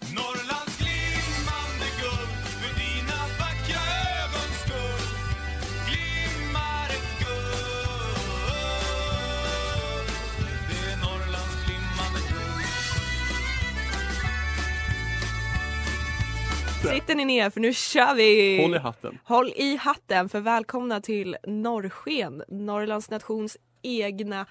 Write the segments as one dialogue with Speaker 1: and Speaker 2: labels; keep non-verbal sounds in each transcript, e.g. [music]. Speaker 1: Norrlands glimmande guld för dina vackra ögons skull glimmar ett guld Det är Norrlands glimmande guld
Speaker 2: Sitter ni ner för nu kör vi!
Speaker 3: Håll i hatten.
Speaker 2: Håll i hatten för välkomna till Norrsken, Norrlands nations egna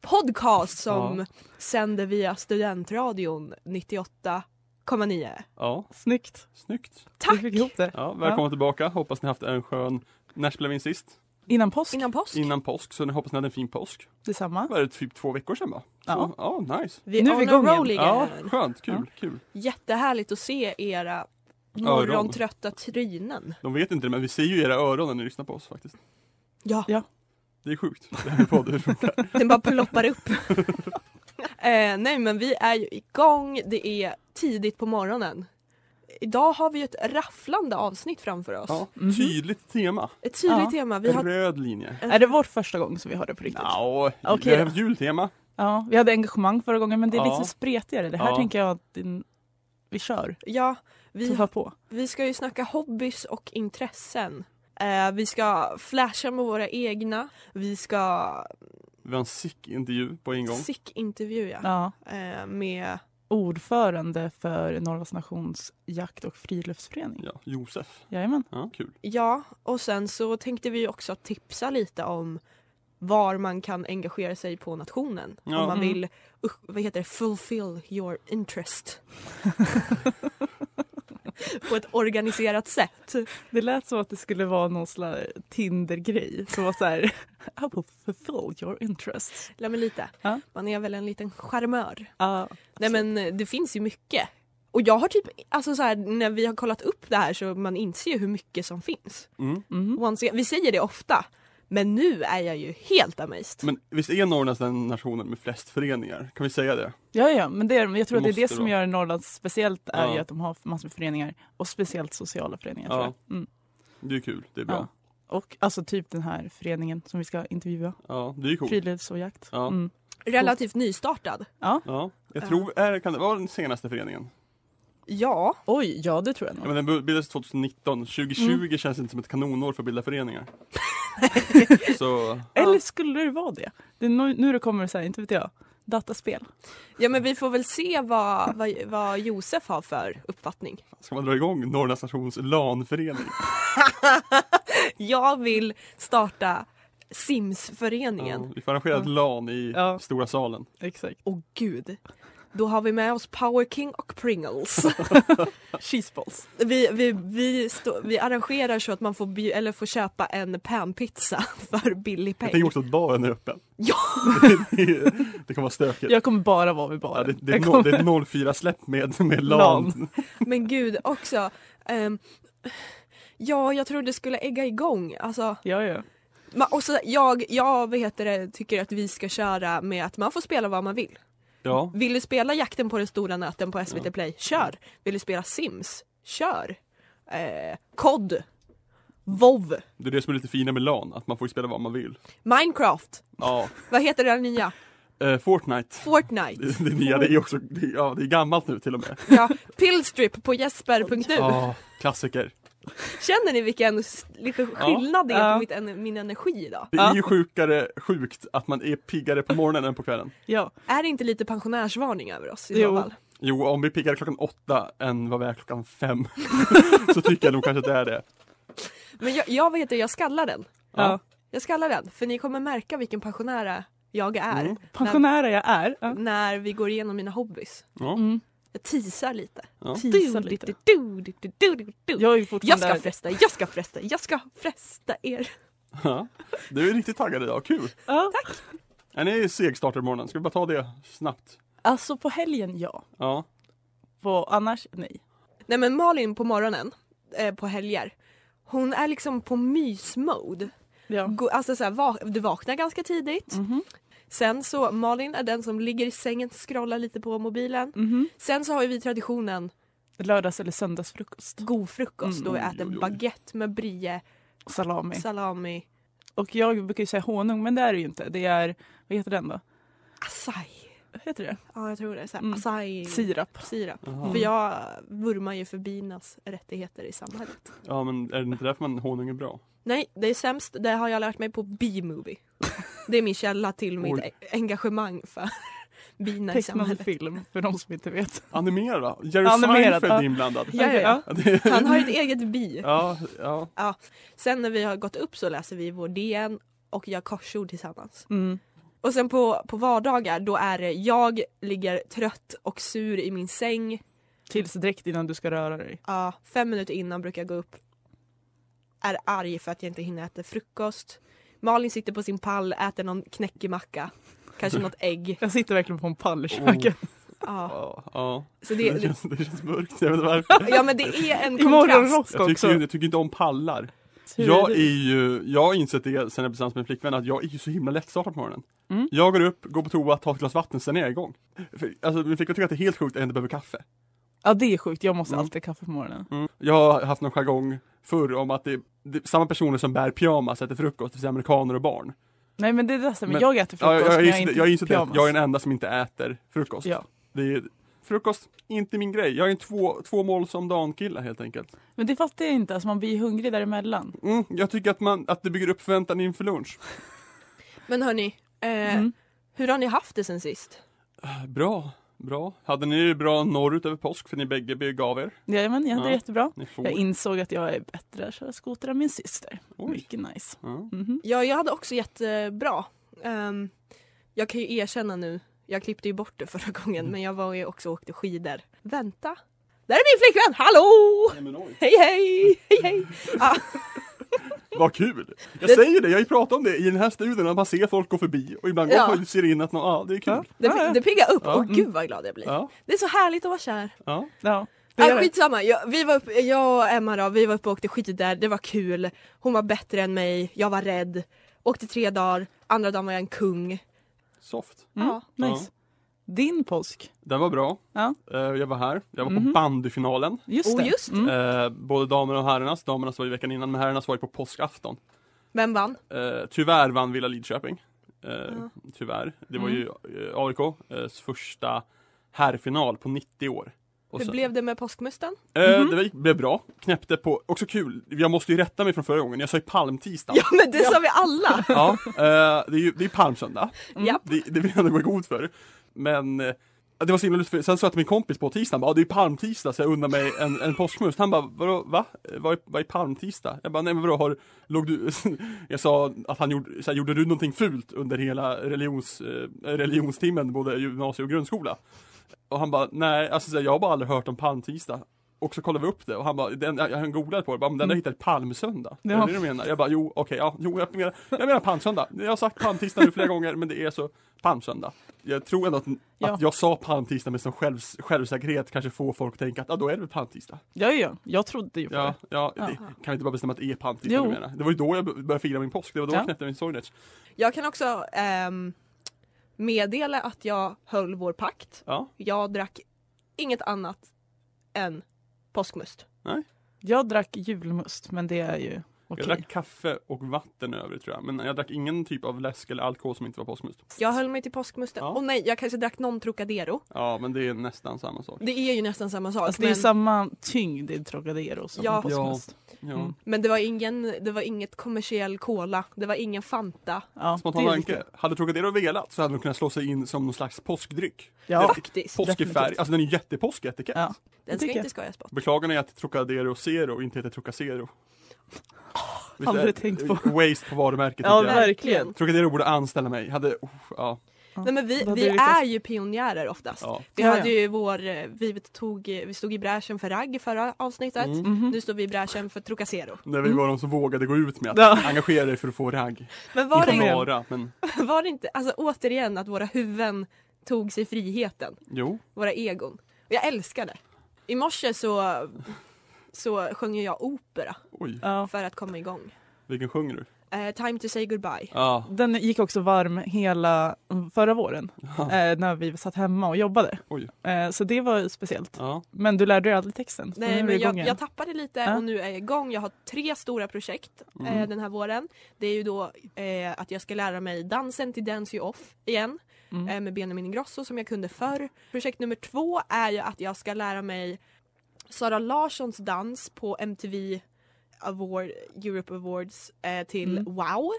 Speaker 2: podcast som
Speaker 3: Ja.
Speaker 2: sänder via studentradion 98,9.
Speaker 3: Ja,
Speaker 4: Snyggt.
Speaker 3: snyggt.
Speaker 2: Tack!
Speaker 4: Vi fick ihop det.
Speaker 3: Ja, välkomna tillbaka. Hoppas ni haft en skön... När spelade vi in sist?
Speaker 4: Innan påsk,
Speaker 2: Innan påsk.
Speaker 3: Innan påsk, så ni hoppas ni hade en fin påsk.
Speaker 4: detsamma.
Speaker 3: Var det typ två veckor sedan va? Så,
Speaker 4: Ja.
Speaker 3: Ja, nice.
Speaker 2: Vi
Speaker 4: Nu
Speaker 2: är
Speaker 4: är vi
Speaker 2: on
Speaker 4: igång
Speaker 2: a
Speaker 4: igen.
Speaker 2: roll
Speaker 3: Ja,
Speaker 2: again.
Speaker 3: skönt, kul, kul.
Speaker 2: Jättehärligt att se era morgontrötta trynen.
Speaker 3: De vet inte det, men vi ser ju era öron när ni lyssnar på oss faktiskt.
Speaker 2: Ja,
Speaker 4: Ja.
Speaker 3: Det är sjukt. Det här är podd, hur funkar.
Speaker 2: den bara ploppar
Speaker 4: [laughs]
Speaker 2: upp. eh, nej men vi är ju igång, det är tidigt på morgonen. Idag har vi ju ett rafflande avsnitt framför
Speaker 3: [laughs]
Speaker 2: oss.
Speaker 3: Ja, tydligt tema.
Speaker 2: Ett tydligt
Speaker 4: Ja.
Speaker 2: tema. Vi
Speaker 3: En
Speaker 2: har,
Speaker 3: röd linje.
Speaker 4: Är det vår första gång som vi har det på riktigt?
Speaker 3: Ja,
Speaker 4: Okej
Speaker 3: vi har
Speaker 4: då.
Speaker 3: haft jultema.
Speaker 4: Ja, vi hade engagemang förra gången men det är
Speaker 3: Ja.
Speaker 4: lite spretigare. Det här
Speaker 3: Ja.
Speaker 4: tänker jag att din- vi kör.
Speaker 2: ja, vi,
Speaker 4: Tuffa på.
Speaker 2: vi ska ju snacka hobbys och intressen. Eh, vi ska flasha med våra egna. Vi ska
Speaker 3: Vi har en sick intervju på en gång.
Speaker 2: sick-intervjua
Speaker 4: Ja.
Speaker 2: eh, med
Speaker 4: Ordförande för Norrlands Nations jakt och friluftsförening.
Speaker 3: Ja, Josef.
Speaker 4: Jajamän.
Speaker 3: Ja, kul.
Speaker 2: Ja, och sen så tänkte vi ju också tipsa lite om var man kan engagera sig på nationen.
Speaker 3: Ja.
Speaker 2: Om man
Speaker 4: Mm.
Speaker 2: vill, usch, vad heter det, fulfill your
Speaker 4: [laughs]
Speaker 2: interest. på ett organiserat sätt.
Speaker 4: Det lät som att det skulle vara någon slags Tinder-grej. Som var så här, [laughs] I will fulfill your interests.
Speaker 2: Lär mig lite.
Speaker 4: Ja.
Speaker 2: Man är väl en liten charmör.
Speaker 4: Ja,
Speaker 2: Nej men eh, det finns ju mycket. Och jag har typ, alltså så här, när vi har kollat upp det här så man inser ju hur mycket som finns.
Speaker 3: Mm.
Speaker 4: mm.
Speaker 2: Once, vi säger det ofta, men nu är jag ju helt amazed.
Speaker 3: Men visst är Norrlands den nationen med flest föreningar? Kan vi säga det?
Speaker 4: ja, ja, men det är, men jag tror
Speaker 3: Det
Speaker 4: att det är det
Speaker 3: måste
Speaker 4: som
Speaker 3: vara.
Speaker 4: gör Norrland speciellt är
Speaker 3: Ja.
Speaker 4: ju att de har massor med föreningar och speciellt sociala föreningar. tror
Speaker 3: Ja.
Speaker 4: jag. Mm.
Speaker 3: Det är kul, det är bra.
Speaker 4: Ja. Och alltså typ den här föreningen som vi ska intervjua.
Speaker 3: Ja, det är ju coolt.
Speaker 4: Frilufts och jakt.
Speaker 3: Ja.
Speaker 4: Mm.
Speaker 2: Relativt nystartad.
Speaker 3: Ja, jag tror, är, kan det vara den senaste föreningen?
Speaker 2: Ja.
Speaker 4: Oj, ja det tror jag
Speaker 3: Ja,
Speaker 4: nog.
Speaker 3: men den bildades 2019, 2020 känns inte som ett kanonår för att bilda föreningar. så,
Speaker 4: Eller skulle det vara det? det är nu, nu det kommer så här, inte vet jag, dataspel.
Speaker 2: Ja men vi får väl se vad, vad, vad Josef har för uppfattning.
Speaker 3: ska man dra igång Norrlands stations LAN-förening?
Speaker 2: Jag vill starta Sims-föreningen.
Speaker 3: Ja, vi får arrangera ett LAN i
Speaker 4: Ja.
Speaker 3: stora salen.
Speaker 4: Exakt.
Speaker 2: Åh gud. Då har vi med oss Power King och Pringles.
Speaker 4: Cheeseballs.
Speaker 2: Vi, vi, vi, stå, vi arrangerar så att man får, bju- eller får köpa en panpizza [laughs] för billig
Speaker 3: Jag
Speaker 2: peng.
Speaker 3: tänker också att baren är öppen.
Speaker 2: Ja.
Speaker 3: det, [laughs] det kan vara stökigt.
Speaker 4: Jag kommer bara vara vid
Speaker 3: Ja,
Speaker 4: baren.
Speaker 3: det, det, är
Speaker 4: Jag
Speaker 3: noll-
Speaker 4: kommer...
Speaker 3: det
Speaker 4: [laughs]
Speaker 3: är 04-släpp med, med LAN.
Speaker 4: LAN.
Speaker 2: Men gud också. ehm, ja, jag tror det skulle ägga igång. Alltså,
Speaker 4: Ja, ja.
Speaker 2: ma- och så, jag, jag vad heter det, tycker att vi ska köra med att man får spela vad man vill.
Speaker 3: Ja,
Speaker 2: Vill du spela Jakten på den stora nöten på SVT Play? Kör! Vill du spela Sims? Kör! Eh, COD WoW
Speaker 3: det är det som är lite fina med LAN, att man får ju spela vad man vill.
Speaker 2: Minecraft
Speaker 3: Ja,
Speaker 2: Vad heter det där nya?
Speaker 3: eh, Fortnite.
Speaker 2: Fortnite
Speaker 3: Det, det nya, det är också, det, ja det är gammalt nu till och med.
Speaker 2: ja. Pillstrip på jesper.nu
Speaker 3: Ja, klassiker.
Speaker 2: Känner ni vilken s- lite skillnad det är på
Speaker 4: Ja.
Speaker 2: mitt, en- min energi idag?
Speaker 3: Det är ju sjukare sjukt att man är piggare på morgonen än på kvällen.
Speaker 4: ja.
Speaker 2: Är det inte lite pensionärsvarning över oss i
Speaker 4: Jo.
Speaker 2: så fall?
Speaker 3: Jo, om vi är piggare klockan åtta än vad vi är klockan fem [laughs] så tycker jag nog kanske att det är det.
Speaker 2: Men jag, jag, vad heter, det? jag skallar den
Speaker 4: ja.
Speaker 2: Jag skallar den för ni kommer märka vilken pensionär jag är
Speaker 3: Mm.
Speaker 4: Pensionär jag är. Ja.
Speaker 2: när, när vi går igenom mina hobbys
Speaker 3: Ja.
Speaker 4: Mm.
Speaker 2: Jag teasar lite
Speaker 4: Teasar lite.
Speaker 2: Du, du, du, du, du, du.
Speaker 4: Jag är ju
Speaker 2: Jag
Speaker 4: fortfarande...
Speaker 2: ska fresta, jag ska fresta, jag ska fresta er.
Speaker 3: Ja. Du är riktigt taggad idag, kul!
Speaker 4: Ja.
Speaker 3: Är ni segstartade på morgonen? Ska vi bara ta det snabbt?
Speaker 4: Alltså på helgen ja.
Speaker 3: Ja.
Speaker 4: På, annars nej.
Speaker 2: Nej men Malin på morgonen eh, på helger, hon är liksom på mysmode.
Speaker 4: Ja.
Speaker 2: Gå- Alltså så här, va- du vaknar ganska tidigt,
Speaker 4: Mhm.
Speaker 2: Sen så, Malin är den som ligger i sängen, scrollar lite på mobilen.
Speaker 4: Mhm.
Speaker 2: Sen så har ju vi traditionen
Speaker 4: Lördags eller söndagsfrukost.
Speaker 2: god frukost då vi
Speaker 3: Mm,
Speaker 2: äter
Speaker 3: jo, jo.
Speaker 2: baguette med brie,
Speaker 4: Salami.
Speaker 2: salami,
Speaker 4: Och jag brukar ju säga honung men det är det ju inte. Det är, vad heter den då?
Speaker 2: acai.
Speaker 4: Heter det?
Speaker 2: Ja, jag tror det. Så här,
Speaker 4: Mm.
Speaker 2: Acai.
Speaker 4: Sirap.
Speaker 2: Sirap.
Speaker 3: Jaha.
Speaker 2: För jag vurmar ju för binas rättigheter i samhället.
Speaker 3: Ja men är det inte därför man honung är bra?
Speaker 2: Nej, det är sämst. Det har jag lärt mig på B-movie. Det är min källa till mitt
Speaker 3: Oj.
Speaker 2: e- engagemang för [laughs] bina i
Speaker 4: Tecknad
Speaker 2: samhället.
Speaker 4: film för de som inte vet.
Speaker 3: Animera! Jerry
Speaker 4: Animerad,
Speaker 3: Seinfeld är
Speaker 4: ja.
Speaker 3: inblandad.
Speaker 2: Ja, ja, ja.
Speaker 4: Ja.
Speaker 3: Det-
Speaker 2: Han
Speaker 4: [laughs]
Speaker 2: har ju ett eget bi.
Speaker 3: ja, ja.
Speaker 2: Sen när vi har gått upp så läser vi vår DN och gör korsord tillsammans.
Speaker 4: Mm.
Speaker 2: Och sen på, på vardagar då är det jag ligger trött och sur i min säng.
Speaker 4: Tills direkt innan du ska röra dig.
Speaker 2: Ja, fem minuter innan brukar jag gå upp. Är arg för att jag inte hinner äta frukost. Malin sitter på sin pall, äter någon knäckemacka. Kanske något ägg.
Speaker 4: Jag sitter verkligen på en pall i
Speaker 3: Oh.
Speaker 4: köket.
Speaker 2: Ja.
Speaker 3: Ja, ja.
Speaker 2: Så
Speaker 4: [laughs]
Speaker 3: Det,
Speaker 2: det,
Speaker 3: känns, det känns mörkt, jag vet inte varför.
Speaker 2: ja men det är en
Speaker 4: I
Speaker 2: kontrast.
Speaker 4: morgonrock
Speaker 3: Jag tycker,
Speaker 4: också.
Speaker 3: ju- jag tycker inte om pallar.
Speaker 4: Hur
Speaker 3: Jag är
Speaker 4: är du?
Speaker 3: ju, jag har insett det sen jag blev tillsammans med min flickvän att jag är ju så himla lättstartad på morgonen.
Speaker 4: Mm.
Speaker 3: Jag går upp, går på toa, tar ett glas vatten, sen är jag igång. För, alltså min flickvän tycker att det är helt sjukt att jag inte behöver kaffe.
Speaker 4: Ja det är sjukt, jag måste
Speaker 3: Mm.
Speaker 4: alltid ha kaffe på morgonen.
Speaker 3: Jag har haft någon jargong förr om att det är, det är samma personer som bär pyjamas äter frukost, det vill säga amerikaner och barn.
Speaker 4: Nej men det är det men
Speaker 3: Men-
Speaker 4: jag äter
Speaker 3: Ja,
Speaker 4: frukost
Speaker 3: jag, jag, jag,
Speaker 4: men jag
Speaker 3: inser-
Speaker 4: är inte
Speaker 3: jag inser det att
Speaker 4: pyjamas.
Speaker 3: jag är den enda som inte äter frukost.
Speaker 4: Ja.
Speaker 3: Det är, frukost, inte min grej. Jag är en två, två mål som dagen-kille helt enkelt.
Speaker 4: Men det fattar jag inte, alltså, man blir ju hungrig däremellan.
Speaker 3: Mm, jag tycker att, man, att det bygger upp förväntan inför lunch.
Speaker 2: Men hörni, eh,
Speaker 4: Mm.
Speaker 2: hur har ni haft det sen sist?
Speaker 3: Ah, Bra, bra. Hade ni det bra norrut över påsk för ni bägge begav er?
Speaker 4: Jajamän, jag hade
Speaker 3: Ja.
Speaker 4: det jättebra.
Speaker 3: Ni får.
Speaker 4: Jag insåg att jag är bättre att köra skoter än min syster.
Speaker 3: Oj.
Speaker 4: Mycket nice.
Speaker 3: Ja.
Speaker 4: Mhm.
Speaker 2: Ja, jag hade också jättebra. Ehm, jag kan ju erkänna nu, jag klippte ju bort det förra gången,
Speaker 4: Mm.
Speaker 2: men jag var ju också och åkte skidor. Vänta! Där är min flickvän! Hallå! Hej hej! Hej hej! Ah, Ja,
Speaker 3: Vad kul! Jag
Speaker 2: Det-
Speaker 3: säger det, jag har ju pratat om det i den här studion, att man ser folk gå förbi och ibland
Speaker 2: Ja.
Speaker 3: går man ser det in att någon, ja det är kul.
Speaker 2: det,
Speaker 4: Ja, mm. ja.
Speaker 2: det piggar upp,
Speaker 3: Ja.
Speaker 2: och gud vad glad jag blir.
Speaker 3: Ja,
Speaker 2: Det är så härligt att vara kär.
Speaker 3: ja.
Speaker 4: Ja, det
Speaker 2: Ah,
Speaker 4: gör jag.
Speaker 2: skitsamma, jag, vi var upp, jag och Emma då, vi var uppe och åkte skidor, det var kul. Hon var bättre än mig, jag var rädd. Åkte tre dagar, andra dagen var jag en kung.
Speaker 3: Soft.
Speaker 4: Mm,
Speaker 2: Ja.
Speaker 4: nice. Din påsk,
Speaker 3: Den var bra.
Speaker 4: Ja.
Speaker 3: Eh, Jag var här, jag var på
Speaker 4: Mhm.
Speaker 3: bandyfinalen.
Speaker 4: just
Speaker 2: Oh,
Speaker 4: det.
Speaker 2: just det.
Speaker 4: Mm.
Speaker 3: Eh, både damerna och herrarnas. Damernas var ju veckan innan men herrarnas var ju på påskafton.
Speaker 2: Vem vann?
Speaker 3: Eh, tyvärr vann Villa Lidköping. Eh,
Speaker 2: Ja.
Speaker 3: Tyvärr. Det var
Speaker 4: Mm.
Speaker 3: ju eh, AIKs första herrfinal på 90 år. Och
Speaker 2: Hur
Speaker 3: sen-
Speaker 2: blev Mhm. det med påskmusten?
Speaker 3: Eh, Det gick- blev bra. Knäppte på, också kul, jag måste ju rätta mig från förra gången, jag sa ju palmtisdag.
Speaker 2: [laughs] Ja men det sa vi alla!
Speaker 3: Ja, eh, det är ju det är palmsöndag.
Speaker 4: [laughs] Mm.
Speaker 2: Japp.
Speaker 3: Det, det vill jag ändå gå i god för. Men eh, det var så himla lustigt, för sen sa jag till min kompis på tisdagen, bara, "Ja, det är ju palmtisdag så jag undrar mig en, en påskmust. Han bara, vadå, va? Eh, Vad är, vad är palmtisdag? Jag bara, nej men vadå, har, låg du, jag sa att han gjorde, så här, gjorde du någonting fult under hela religions, eh, religionstimmen, både gymnasie och grundskola? Och han bara, nej, alltså så här, jag har bara aldrig hört om palmtisdag. Och så kollade vi upp det och han bara, den, jag- han googlade på det, bara, men den har hittat palmsöndag.
Speaker 4: Mm. Ja.
Speaker 3: Är det det du menar? Jag bara, jo, okej, ja, jo, jag menar, jag menar palmsöndag. Jag har sagt palmtisdag nu flera gånger, men det är så palmsöndag. Jag tror ändå att,
Speaker 4: Ja.
Speaker 3: att jag sa palmtisdag med sån självs, självsäkerhet kanske får folk att tänka att ja, då är det väl palmtisdag.
Speaker 4: Ja, ja, ja. jag trodde ju på
Speaker 3: Ja,
Speaker 4: det.
Speaker 3: ja,
Speaker 4: Ja.
Speaker 3: Det, kan vi inte bara bestämma att det är palmtisdag
Speaker 4: Jo.
Speaker 3: du menar? Det var ju då jag b- började fira min påsk, det var då
Speaker 4: Ja.
Speaker 3: jag knäppte min sorgnäts.
Speaker 2: Jag kan också ehm, meddela att jag höll vår pakt.
Speaker 3: Ja,
Speaker 2: Jag drack inget annat än påskmust.
Speaker 4: Jag drack julmust, men det är ju okej.
Speaker 3: jag drack kaffe och vatten över tror jag, men jag drack ingen typ av läsk eller alkohol som inte var påskmust.
Speaker 2: Jag höll mig till påskmusten.
Speaker 3: Ja.
Speaker 2: Och nej, jag kanske drack någon Trocadero.
Speaker 3: Ja, men det är nästan samma sak.
Speaker 2: Det är ju nästan samma sak.
Speaker 4: Alltså, det är
Speaker 2: men,
Speaker 4: ju samma tyngd i Trocadero som
Speaker 2: Ja.
Speaker 4: ja. påskmust.
Speaker 3: Ja.
Speaker 4: Mm.
Speaker 2: men det, var ingen, det var inget kommersiell cola. Det var ingen Fanta.
Speaker 4: Ja.
Speaker 3: Spontan
Speaker 4: det är
Speaker 3: tanke, hade Trocadero velat så hade de kunnat slå sig in som någon slags påskdryck.
Speaker 4: Ja.
Speaker 2: Faktiskt.
Speaker 3: Påskig färg,
Speaker 4: definitivt.
Speaker 3: alltså den är ju jättepåsketikett.
Speaker 4: Ja.
Speaker 2: Den ska
Speaker 4: tycker jag.
Speaker 2: inte skojas bort.
Speaker 3: Beklagar ni att Trocadero Zero inte heter Trocacero? Visst
Speaker 4: [laughs] aldrig
Speaker 3: är-
Speaker 4: tänkt på.
Speaker 3: Waste på varumärket
Speaker 4: Ja,
Speaker 3: tycker jag.
Speaker 4: verkligen.
Speaker 3: Trocadero borde anställa mig, hade, oh, ja,
Speaker 4: Ja.
Speaker 2: Nej, men vi
Speaker 4: Då hade
Speaker 2: vi
Speaker 4: det
Speaker 2: är ju pionjärer oftast.
Speaker 3: ja.
Speaker 2: Vi,
Speaker 4: Ja, ja.
Speaker 2: hade ju vår, eh, vi, tog, vi stod i bräschen för ragg i förra avsnittet.
Speaker 3: Mm.
Speaker 4: Mhm.
Speaker 2: Nu står vi i bräschen för Trocacero.
Speaker 3: När vi var de som vågade gå ut med att
Speaker 4: Ja.
Speaker 3: engagera dig för att få ragg.
Speaker 2: Men var det,
Speaker 3: inte
Speaker 4: igen.
Speaker 3: bara, men
Speaker 2: var det inte, [laughs] alltså återigen att våra huvuden tog sig friheten,
Speaker 3: jo.
Speaker 2: våra egon. Och jag älskar det. I morse så, så sjöng ju jag opera
Speaker 3: Oj,
Speaker 4: Ja.
Speaker 2: för att komma igång.
Speaker 3: vilken sjunger du?
Speaker 2: Eh, time to say goodbye.
Speaker 3: Ja,
Speaker 4: Den gick också varm hela förra våren eh, när vi satt hemma och jobbade.
Speaker 3: Oj.
Speaker 4: Eh, så det var ju speciellt.
Speaker 3: ja.
Speaker 4: Men du lärde dig aldrig texten. så nu
Speaker 2: Nej,
Speaker 4: är
Speaker 2: men
Speaker 4: du
Speaker 2: jag,
Speaker 4: igång igen.
Speaker 2: jag tappade lite
Speaker 4: Ja. Mm.
Speaker 2: och nu är jag igång. Jag har tre stora projekt
Speaker 3: Mm.
Speaker 2: eh, den här våren. Det är ju då eh, att jag ska lära mig dansen till Dance You Off igen
Speaker 4: Mm.
Speaker 2: eh, med Benjamin Ingrosso som jag kunde förr. Projekt nummer två är ju att jag ska lära mig Sara Larssons dans på MTV Award, Europe Awards eh, till
Speaker 4: Mm.
Speaker 2: Wow.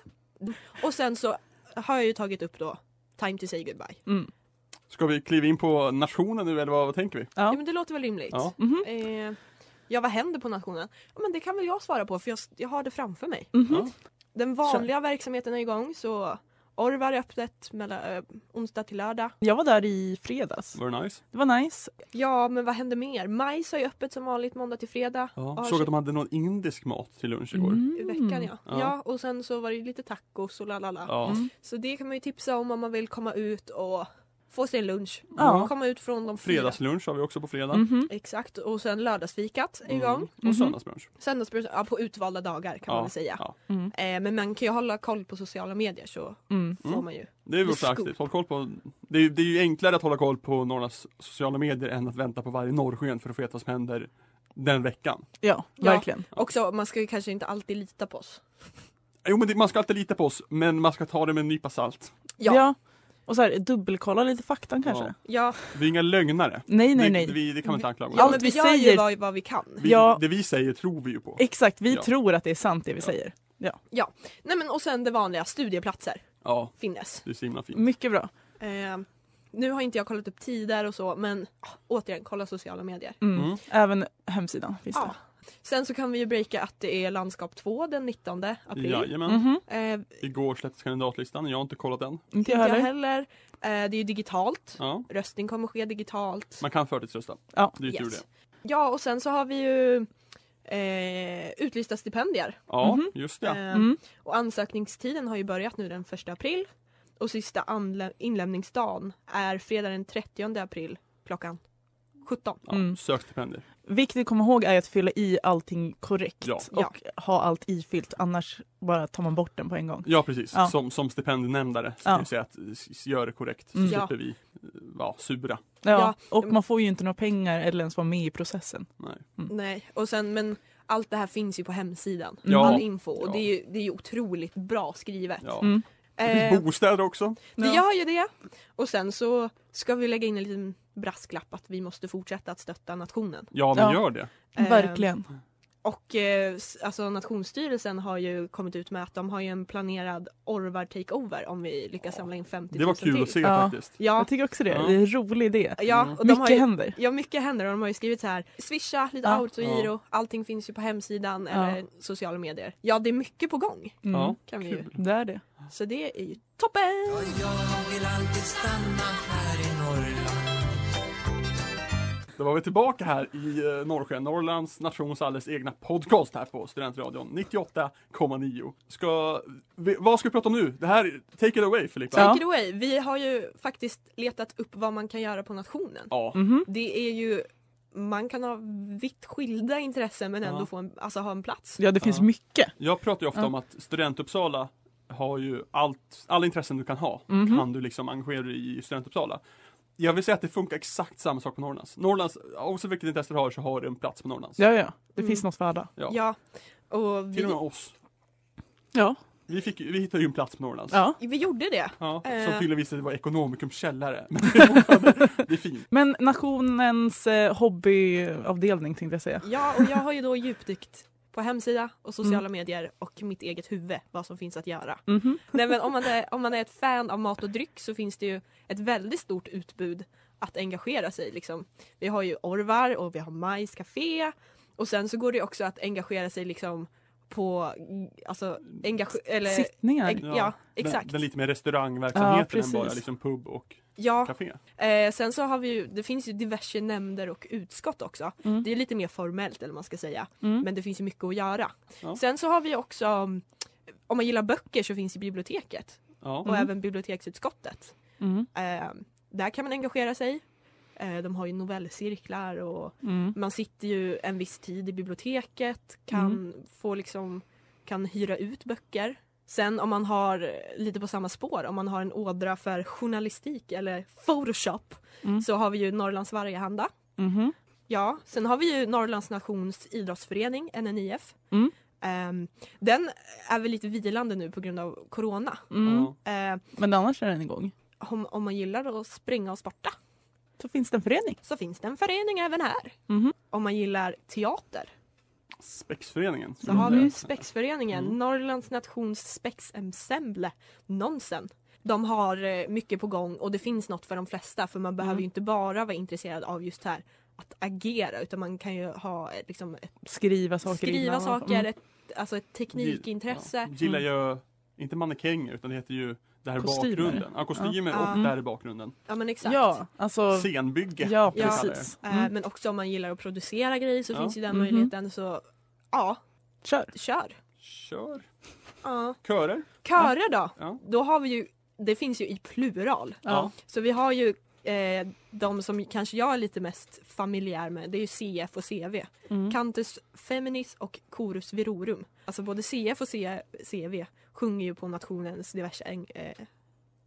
Speaker 2: Och sen så har jag ju tagit upp då Time to say goodbye.
Speaker 4: Mm.
Speaker 3: Ska vi kliva in på nationen nu eller vad, vad tänker vi?
Speaker 4: Ja.
Speaker 2: Ja. men det låter väl rimligt.
Speaker 3: Ja.
Speaker 4: Mhm.
Speaker 2: Eh, ja, vad händer på nationen? Ja, men det kan väl jag svara på för jag, jag har det framför mig.
Speaker 4: Mhm.
Speaker 3: Ja.
Speaker 2: Den vanliga verksamheten är igång så Orvar är öppet mellan, eh, onsdag till lördag.
Speaker 4: Jag var där i fredags.
Speaker 3: Very nice.
Speaker 4: Det var nice.
Speaker 2: Ja, men vad händer mer? Majs är ju öppet som vanligt måndag till fredag.
Speaker 3: Ja.
Speaker 2: Och
Speaker 3: Såg att de hade någon indisk mat till lunch igår.
Speaker 4: Mm.
Speaker 2: i veckan ja.
Speaker 3: Ja.
Speaker 2: ja. och sen så var det ju lite tacos och lalala.
Speaker 3: Ja.
Speaker 4: Mm.
Speaker 2: Så det kan man ju tipsa om om man vill komma ut och få sig en lunch. Mm.
Speaker 4: Ja.
Speaker 2: Komma ut från de fyra.
Speaker 3: Fredagslunch har vi också på fredag.
Speaker 2: Mm.
Speaker 4: Mhm.
Speaker 2: Exakt, och sen lördagsfikat är
Speaker 3: Mm.
Speaker 2: igång.
Speaker 3: Och söndagslunch.
Speaker 2: Söndagsbrus, ja, på utvalda dagar Mm-hmm. kan
Speaker 3: Ja,
Speaker 2: man väl säga.
Speaker 3: ja.
Speaker 4: Mm.
Speaker 2: Eh, men man kan ju hålla koll på sociala medier så
Speaker 4: Mm.
Speaker 2: får
Speaker 3: Mm.
Speaker 2: man ju.
Speaker 3: Det är väl
Speaker 2: Med
Speaker 3: också
Speaker 2: skog.
Speaker 3: aktivt. Håll koll på, det, är, det är ju enklare att hålla koll på Norrlands sociala medier än att vänta på varje norrsken för att få veta vad som händer den veckan.
Speaker 4: Ja,
Speaker 2: Ja.
Speaker 4: verkligen.
Speaker 2: Också, man ska ju kanske inte alltid lita på oss.
Speaker 3: Jo men det, man ska alltid lita på oss, men man ska ta det med en nypa salt.
Speaker 2: Ja, ja.
Speaker 4: Ja. Och så här, dubbelkolla lite faktan kanske.
Speaker 3: Ja.
Speaker 2: ja.
Speaker 3: Vi är inga lögnare.
Speaker 4: Nej, nej,
Speaker 3: Det,
Speaker 4: nej.
Speaker 3: vi, det kan man inte anklaga oss
Speaker 4: Allt
Speaker 2: men
Speaker 3: för.
Speaker 2: vi,
Speaker 4: vi
Speaker 2: gör ju
Speaker 4: säger-
Speaker 2: vad, vad vi kan.
Speaker 3: vi,
Speaker 4: ja.
Speaker 3: Det vi säger tror vi ju på.
Speaker 4: Exakt, vi
Speaker 3: Ja.
Speaker 4: tror att det är sant det vi säger.
Speaker 2: Ja. Nej, men, och sen det vanliga, studieplatser
Speaker 3: Ja,
Speaker 2: finnes.
Speaker 3: det är så himla fint.
Speaker 4: Mycket bra.
Speaker 2: Eh, nu har inte jag kollat upp tider och så men ah, återigen, kolla sociala medier.
Speaker 4: Mm.
Speaker 3: Mm.
Speaker 4: Även hemsidan finns
Speaker 2: Ja.
Speaker 4: det.
Speaker 2: Sen så kan vi ju breaka att det är landskap 2 den 19 april.
Speaker 3: Jajamän.
Speaker 4: Mhm.
Speaker 2: Eh,
Speaker 3: Igår släpptes kandidatlistan, jag har inte kollat den.
Speaker 4: Inte jag
Speaker 2: inte jag
Speaker 4: heller.
Speaker 2: heller. Eh, det är ju digitalt.
Speaker 3: Ja.
Speaker 2: Röstning kommer ske digitalt.
Speaker 3: Man kan förtidsrösta.
Speaker 4: Ja.
Speaker 3: Det är ju tur
Speaker 2: Yes.
Speaker 3: det.
Speaker 2: Ja och sen så har vi ju eh, utlysta stipendier.
Speaker 3: Ja,
Speaker 4: Mhm.
Speaker 3: just det.
Speaker 2: Eh,
Speaker 4: Mm.
Speaker 2: Och ansökningstiden har ju börjat nu den 1 april. Och sista anlä- inlämningsdagen är fredag den 30 april klockan 17.
Speaker 3: Ja,
Speaker 4: mm.
Speaker 3: Sök stipendier.
Speaker 4: Viktigt att komma ihåg är att fylla i allting korrekt
Speaker 3: Ja.
Speaker 4: och ha allt ifyllt annars bara tar man bort den på en gång.
Speaker 3: Ja precis,
Speaker 4: Ja.
Speaker 3: Som, som stipendienämndare så
Speaker 4: Ja.
Speaker 3: kan vi säga att eh, s- gör det korrekt så
Speaker 4: Mm.
Speaker 3: slipper
Speaker 2: Ja.
Speaker 3: vi eh, ja, sura.
Speaker 4: Ja.
Speaker 2: Ja.
Speaker 4: Och man får ju inte några pengar eller ens vara med i processen.
Speaker 3: Nej.
Speaker 2: Nej, och sen men allt det här finns ju på hemsidan.
Speaker 3: Ja.
Speaker 2: All info och
Speaker 3: Ja.
Speaker 2: det, är ju, det är ju otroligt bra skrivet.
Speaker 3: Ja.
Speaker 4: Mm.
Speaker 3: Det
Speaker 2: Eh,
Speaker 3: finns bostäder också.
Speaker 2: det
Speaker 4: Ja.
Speaker 2: gör ju det. Och sen så ska vi lägga in en liten brasklapp att vi måste fortsätta att stötta nationen.
Speaker 3: Ja men
Speaker 4: Ja.
Speaker 3: gör det.
Speaker 2: Eh,
Speaker 4: Verkligen.
Speaker 2: Och eh, s- alltså Nationsstyrelsen har ju kommit ut med att de har ju en planerad Orvar takeover om vi lyckas samla in 50 000
Speaker 3: Det var kul
Speaker 2: till.
Speaker 3: att se
Speaker 4: Ja.
Speaker 3: faktiskt.
Speaker 2: Ja,
Speaker 4: Jag tycker också det.
Speaker 3: Ja.
Speaker 4: Det är en rolig idé.
Speaker 2: ja och de
Speaker 4: Mycket
Speaker 2: har ju,
Speaker 4: händer.
Speaker 2: Ja, mycket händer och de har ju skrivit så här Swisha, lite
Speaker 4: Ja.
Speaker 2: autogiro, allting finns ju på hemsidan
Speaker 4: Ja.
Speaker 2: eller sociala medier. Ja, det är mycket på gång
Speaker 4: Mm.
Speaker 3: Ja,
Speaker 2: kan vi ju.
Speaker 3: kul.
Speaker 4: Det är det.
Speaker 2: Så det är ju toppen!
Speaker 5: Jag vill alltid stanna här i Norrland
Speaker 3: Då var vi tillbaka här i eh, Norrsken, Norrlands nations alldeles egna podcast här på Studentradion 98,9. Ska, vi, vad ska vi prata om nu? Det här, take it away Filippa.
Speaker 4: Ja.
Speaker 2: Take it away! Vi har ju faktiskt letat upp vad man kan göra på nationen.
Speaker 3: Ja.
Speaker 4: Mhm.
Speaker 2: Det är ju man kan ha vitt skilda intressen men ändå
Speaker 3: Ja.
Speaker 2: få en, alltså, ha en plats.
Speaker 4: Ja, det finns
Speaker 3: Ja.
Speaker 4: mycket.
Speaker 3: Jag pratar ju ofta
Speaker 4: Ja.
Speaker 3: om att Student Uppsala har ju allt, alla intressen du kan ha,
Speaker 4: Mhm.
Speaker 3: kan du liksom engagera dig i Student Uppsala. Jag vill säga att det funkar exakt samma sak på Norrlands. Norrlands, oavsett vilket intresse du har så har du en plats på Norrlands.
Speaker 4: Ja, ja. Det finns
Speaker 2: Mm.
Speaker 4: något för alla.
Speaker 3: Ja.
Speaker 2: Ja, och
Speaker 3: Till och
Speaker 2: vi,
Speaker 3: med oss.
Speaker 4: Ja.
Speaker 3: Vi, fick, ju- vi hittade ju en plats på Norrlands.
Speaker 4: ja.
Speaker 2: vi gjorde det.
Speaker 3: Ja, som
Speaker 2: Eh.
Speaker 3: tydligen visade sig vara Ekonomikums
Speaker 4: [laughs]
Speaker 3: källare. Men det är fortfarande- det är fint.
Speaker 4: Men nationens eh, hobbyavdelning tänkte jag säga.
Speaker 2: Ja, och jag har ju då djupdykt på hemsida och sociala
Speaker 3: Mm.
Speaker 2: medier och mitt eget huvud vad som finns att göra.
Speaker 4: Mhm.
Speaker 2: Nej, men om, man är, om man är ett fan av mat och dryck så finns det ju ett väldigt stort utbud att engagera sig i, liksom. Vi har ju Orvar och vi har Majs Café och sen så går det ju också att engagera sig liksom på alltså engage- eller
Speaker 4: Sittningar.
Speaker 2: Eng- ja, exakt.
Speaker 3: Den, den lite mer restaurangverksamheten
Speaker 4: Ja,
Speaker 3: än bara
Speaker 4: precis.
Speaker 3: liksom pub och
Speaker 2: ja,
Speaker 3: café.
Speaker 2: eh, sen så har vi ju, det finns ju diverse nämnder och utskott också. Det är lite mer formellt eller vad man ska säga.
Speaker 4: Mm.
Speaker 2: Men det finns ju mycket att göra.
Speaker 3: Ja.
Speaker 2: Sen så har vi också, mm, om man gillar böcker så finns ju biblioteket
Speaker 3: Ja.
Speaker 2: och även biblioteksutskottet.
Speaker 4: Mm.
Speaker 2: Eh, där kan man engagera sig. Eh, de har ju novellcirklar och
Speaker 4: Mm.
Speaker 2: man sitter ju
Speaker 4: Mm.
Speaker 2: en viss tid i biblioteket, kan få liksom kan hyra ut böcker Sen om man har, eh, lite på samma spår, om man har en ådra för journalistik eller photoshop
Speaker 4: Mm.
Speaker 2: så har vi ju Norrlands Vargahanda.
Speaker 4: Mhm.
Speaker 2: Ja, sen har vi ju Norrlands Nations idrottsförening, NNIF.
Speaker 4: Mm.
Speaker 2: Ehm, den är väl lite vilande nu på grund av corona.
Speaker 4: Mm.
Speaker 3: Ja.
Speaker 2: Ehm,
Speaker 4: Men annars är den igång.
Speaker 2: om, om man gillar att springa och sporta
Speaker 4: Så finns det en förening.
Speaker 2: så finns det en förening även här.
Speaker 4: Mhm.
Speaker 2: Om man gillar teater
Speaker 3: Spexföreningen.
Speaker 2: så har vi ju Spexföreningen,
Speaker 3: Mm.
Speaker 2: Norrlands Nations Spexensemble, Nonsen. De har eh, mycket på gång och det finns något för de flesta för man behöver ju inte bara vara intresserad av just här att agera utan man kan ju ha eh, liksom, ett
Speaker 4: Skriva saker
Speaker 2: skriva
Speaker 4: innan.
Speaker 2: saker,
Speaker 4: Mm.
Speaker 2: ett, alltså ett teknikintresse.
Speaker 3: Ja. Gillar ju, inte mannekänger utan det heter ju där i
Speaker 4: Kostymer.
Speaker 3: bakgrunden. Ja, kostymer
Speaker 2: Ja.
Speaker 3: och
Speaker 2: Mm.
Speaker 3: där i bakgrunden.
Speaker 2: Ja men exakt.
Speaker 4: Ja, alltså.
Speaker 3: Scenbygge.
Speaker 4: Ja,
Speaker 3: kan vi kalla det.
Speaker 4: precis.
Speaker 2: Eh,
Speaker 4: Mm.
Speaker 2: Men också om man gillar att producera grejer så
Speaker 3: Ja.
Speaker 2: finns ju den
Speaker 4: Mhm.
Speaker 2: möjligheten så ja,
Speaker 4: Kör.
Speaker 2: kör.
Speaker 3: Kör.
Speaker 2: Ja.
Speaker 3: Körer.
Speaker 2: Körer då?
Speaker 3: Ja.
Speaker 2: Då har vi ju, det finns ju i plural.
Speaker 4: Ja.
Speaker 2: Så vi har ju eh, de som kanske jag är lite mest familjär med, det är ju CF och CV.
Speaker 4: Mm.
Speaker 2: Cantus Feminis och Chorus Virorum. Alltså både CF och C- CV sjunger ju på nationens diverse en- eh,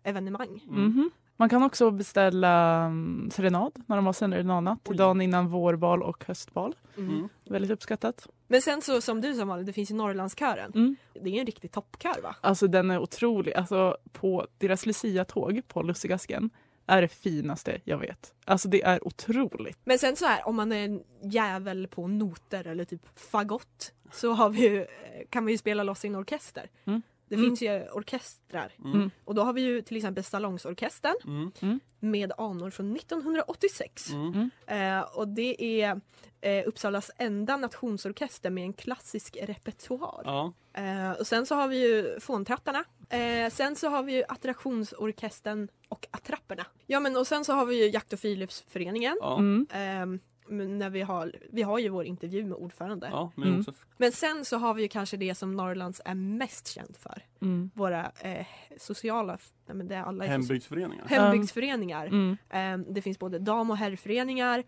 Speaker 2: evenemang.
Speaker 3: Mm.
Speaker 4: Mhm. Man kan också beställa um, serenad när de har serenadnatt
Speaker 3: Oj.
Speaker 4: dagen innan vårbal och höstbal.
Speaker 2: Mm.
Speaker 3: Mm.
Speaker 4: Väldigt uppskattat.
Speaker 2: Men sen så som du sa Malin, det finns ju Norrlandskören.
Speaker 4: Mm.
Speaker 2: Det är ju en riktig toppkör va?
Speaker 4: Alltså den är otrolig. Alltså på deras Lucia-tåg på Lussegasken är det finaste jag vet. Alltså det är otroligt.
Speaker 2: Men sen så här om man är en jävel på noter eller typ fagott så har vi ju, eh, kan man ju spela loss i en orkester.
Speaker 4: Mm.
Speaker 2: Det
Speaker 4: Mm.
Speaker 2: finns ju orkestrar
Speaker 3: Mm.
Speaker 2: och då har vi ju till exempel Salongsorkestern
Speaker 3: Mm.
Speaker 2: med anor från 1986.
Speaker 3: Mm.
Speaker 2: Eh, och det är eh, Uppsalas enda nationsorkester med en klassisk repertoar.
Speaker 3: Ja.
Speaker 2: Eh, och sen så har vi ju Fåntrattarna. Eh, sen så har vi ju Attraktionsorkestern och Attrapperna. Ja men och sen så har vi ju Jakt och friluftsföreningen.
Speaker 3: Ja.
Speaker 4: Mm.
Speaker 2: Ehm, men när vi, har, vi har ju vår intervju med ordförande.
Speaker 3: ja, men
Speaker 4: Mm.
Speaker 3: också.
Speaker 2: Men sen så har vi ju kanske det som Norrlands är mest känd för.
Speaker 4: Mm.
Speaker 2: Våra eh, sociala, f- nej men det är alla är soci-
Speaker 3: Hembygdsföreningar.
Speaker 2: hembygdsföreningar.
Speaker 4: Mm.
Speaker 2: Ehm, det finns både dam och herrföreningar.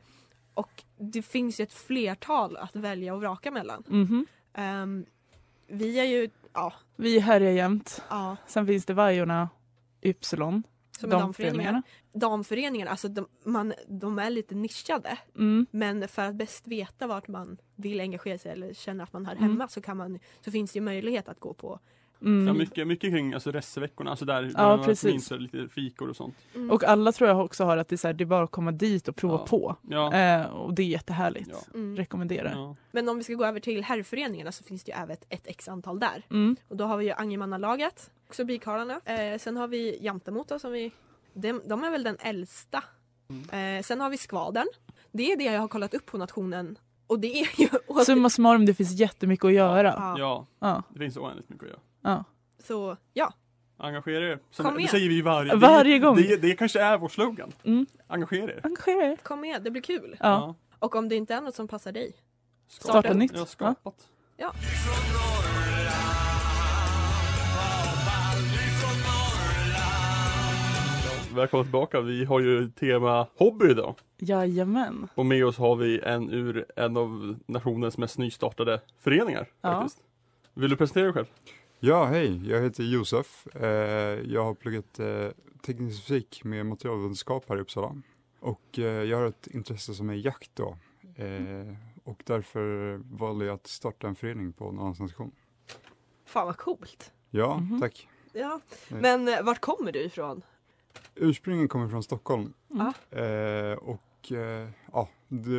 Speaker 2: Och det finns ju ett flertal att välja och vraka mellan.
Speaker 4: Mhm.
Speaker 2: Ehm, vi är ju, ja,
Speaker 4: Vi härjar jämt.
Speaker 2: ja
Speaker 4: Sen finns det Vajorna, Ypsilon,
Speaker 2: som
Speaker 4: de
Speaker 2: damföreningar.
Speaker 4: föreningarna.
Speaker 2: Damföreningar, alltså de, man, de är lite nischade.
Speaker 4: Mm.
Speaker 2: Men för att bäst veta vart man vill engagera sig eller känner att man hör
Speaker 4: Mm.
Speaker 2: hemma så, kan man, så finns det ju möjlighet att gå på.
Speaker 3: Ja,
Speaker 4: Mm.
Speaker 3: mycket, mycket kring alltså reseveckorna, alltså där, där
Speaker 4: Ja,
Speaker 3: man
Speaker 4: precis.
Speaker 3: minns lite fikor och sånt.
Speaker 2: Mm.
Speaker 4: Och alla tror jag också har att det är, så här, det är bara att komma dit och prova
Speaker 3: Ja.
Speaker 4: på.
Speaker 3: Ja.
Speaker 4: Eh, och det är jättehärligt.
Speaker 3: Ja.
Speaker 2: mm.
Speaker 4: Rekommenderar.
Speaker 3: ja.
Speaker 2: Men om vi ska gå över till herrföreningarna så finns det ju även ett, ett x antal där.
Speaker 4: Mm.
Speaker 2: Och då har vi ju Angermannalaget, också Bikharlarna. Eh, sen har vi Jantemota som vi, de, de är väl den äldsta. Eh, sen har vi Skvadern. Det är det jag har kollat upp på nationen och det är ju... [laughs]
Speaker 4: Summa summarum, det finns jättemycket att göra.
Speaker 2: ja.
Speaker 3: ja,
Speaker 4: Ja.
Speaker 3: det finns oändligt mycket att göra.
Speaker 4: Ja.
Speaker 2: Så ja,
Speaker 3: Engagera er.
Speaker 2: Kom
Speaker 3: Som, det
Speaker 2: igen.
Speaker 3: säger vi ju varje,
Speaker 4: Varje
Speaker 3: det,
Speaker 4: gång.
Speaker 3: Det, det kanske är vår slogan.
Speaker 4: Mm.
Speaker 3: Engagera er.
Speaker 4: Engagera er.
Speaker 2: kom med, det blir kul.
Speaker 4: Ja.
Speaker 2: Och om det inte är något som passar dig,
Speaker 3: Skapa-
Speaker 4: Starta nytt.
Speaker 3: Ja, skapat. Välkomna tillbaka. Vi har ju tema hobby idag.
Speaker 4: Jajamän.
Speaker 3: Och med oss har vi en ur en av nationens mest nystartade föreningar.
Speaker 4: Ja.
Speaker 3: Faktiskt. Vill du presentera dig själv?
Speaker 6: Ja, hej, jag heter Josef. Eh, Jag har pluggat eh, teknisk fysik med materialvetenskap här i Uppsala. Och eh, jag har ett intresse som är jakt då. Eh, Och därför valde jag att starta en förening på Norrlands nation.
Speaker 2: fan vad coolt.
Speaker 6: Ja,
Speaker 4: Mhm.
Speaker 6: tack.
Speaker 2: Ja.
Speaker 6: Mm.
Speaker 2: Men eh, vart kommer du ifrån?
Speaker 6: Ursprungligen kommer från Stockholm.
Speaker 2: Mm.
Speaker 6: Eh, Och eh, ja, det,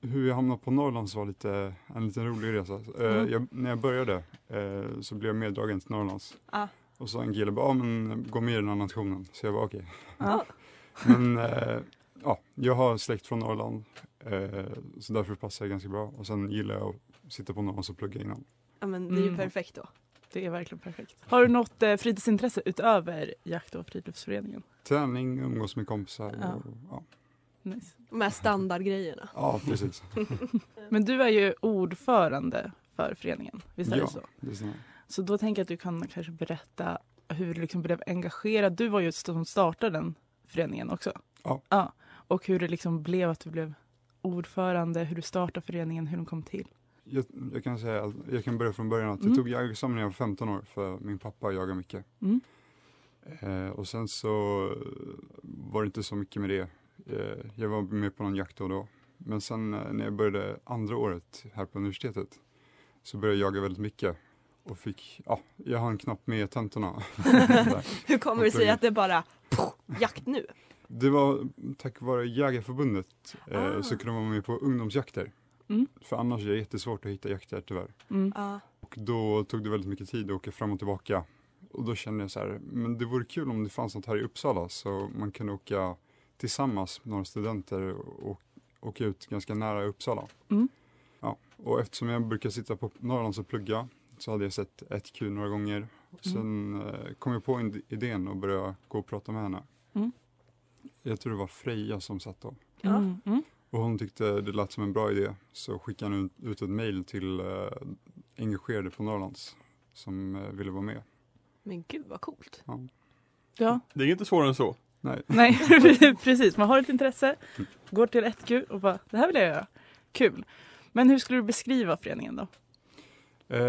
Speaker 6: hur jag hamnade på Norrlands var lite, en liten rolig resa. Eh,
Speaker 4: Mm.
Speaker 6: jag, när jag började eh, så blev jag meddragen till Norrlands.
Speaker 2: Ah.
Speaker 6: Och så en kille bara, ja men gå med i den här nationen. Så jag bara okej.
Speaker 4: Ja.
Speaker 6: [laughs] Men eh, ja, jag har släkt från Norrland. Eh, så därför passar jag ganska bra. Och sen gillar jag att sitta på Norrlands och plugga innan.
Speaker 2: Ja men det är ju
Speaker 4: Mm.
Speaker 2: perfekt då.
Speaker 4: Det är verkligen perfekt. Har du något eh, fritidsintresse utöver jakt och friluftsföreningen?
Speaker 6: Träning, umgås med kompisar.
Speaker 4: Ja.
Speaker 6: Och, ja.
Speaker 4: Nice.
Speaker 2: De här standardgrejerna.
Speaker 6: ja, precis.
Speaker 4: Men du är ju ordförande för föreningen, visst är
Speaker 6: Ja.
Speaker 4: det så?
Speaker 6: Det stämmer.
Speaker 4: Så då tänker jag att du kan kanske berätta hur du liksom blev engagerad. Du var ju just som startade den föreningen också.
Speaker 6: Ja.
Speaker 4: ja. Och hur det liksom blev att du blev ordförande, hur du startade föreningen, hur den kom till.
Speaker 6: jag, jag kan säga, att- jag kan börja från början att
Speaker 4: Mm.
Speaker 6: jag tog jägarexamen när jag var 15 år för min pappa jagade mycket.
Speaker 4: Mm.
Speaker 6: Eh, och sen så eh, var det inte så mycket med det. Eh, jag var med på någon jakt då och då. Men sen eh, när jag började andra året här på universitetet så började jag jaga väldigt mycket. Och fick, ja, jag hann knappt
Speaker 4: [laughs]
Speaker 6: med tentorna. Där.
Speaker 2: Hur kommer det sig att det bara Pff, jakt nu?
Speaker 6: det var tack vare Jägareförbundet eh,
Speaker 2: Ah.
Speaker 6: så kunde man vara med på ungdomsjakter.
Speaker 4: Mm.
Speaker 6: För annars är det jättesvårt att hitta jakter tyvärr.
Speaker 4: Mm.
Speaker 2: Ja.
Speaker 6: Och då tog det väldigt mycket tid att åka fram och tillbaka. Och då kände jag så här, men det vore kul om det fanns något här i Uppsala så man kunde åka tillsammans, några studenter, och åka ut ganska nära Uppsala.
Speaker 4: Mm.
Speaker 6: Ja, och eftersom jag brukar sitta på Norrlands och plugga så hade jag sett ett Q några gånger.
Speaker 4: Mm.
Speaker 6: Och sen eh, kom jag på in- idén och började gå och prata med henne.
Speaker 4: Mm.
Speaker 6: Jag tror det var Freja som satt då.
Speaker 2: Ja.
Speaker 4: Mm. Mm.
Speaker 6: Och hon tyckte det lät som en bra idé så skickade hon ut ett mejl till eh, engagerade på Norrlands som eh, ville vara med.
Speaker 2: Men gud vad coolt.
Speaker 4: Ja.
Speaker 3: Det är inte svårare än så.
Speaker 6: Nej,
Speaker 4: [laughs] Nej, precis. Man har ett intresse, går till 1Q och bara det här vill jag göra. Kul. Men hur skulle du beskriva föreningen då?
Speaker 6: eh,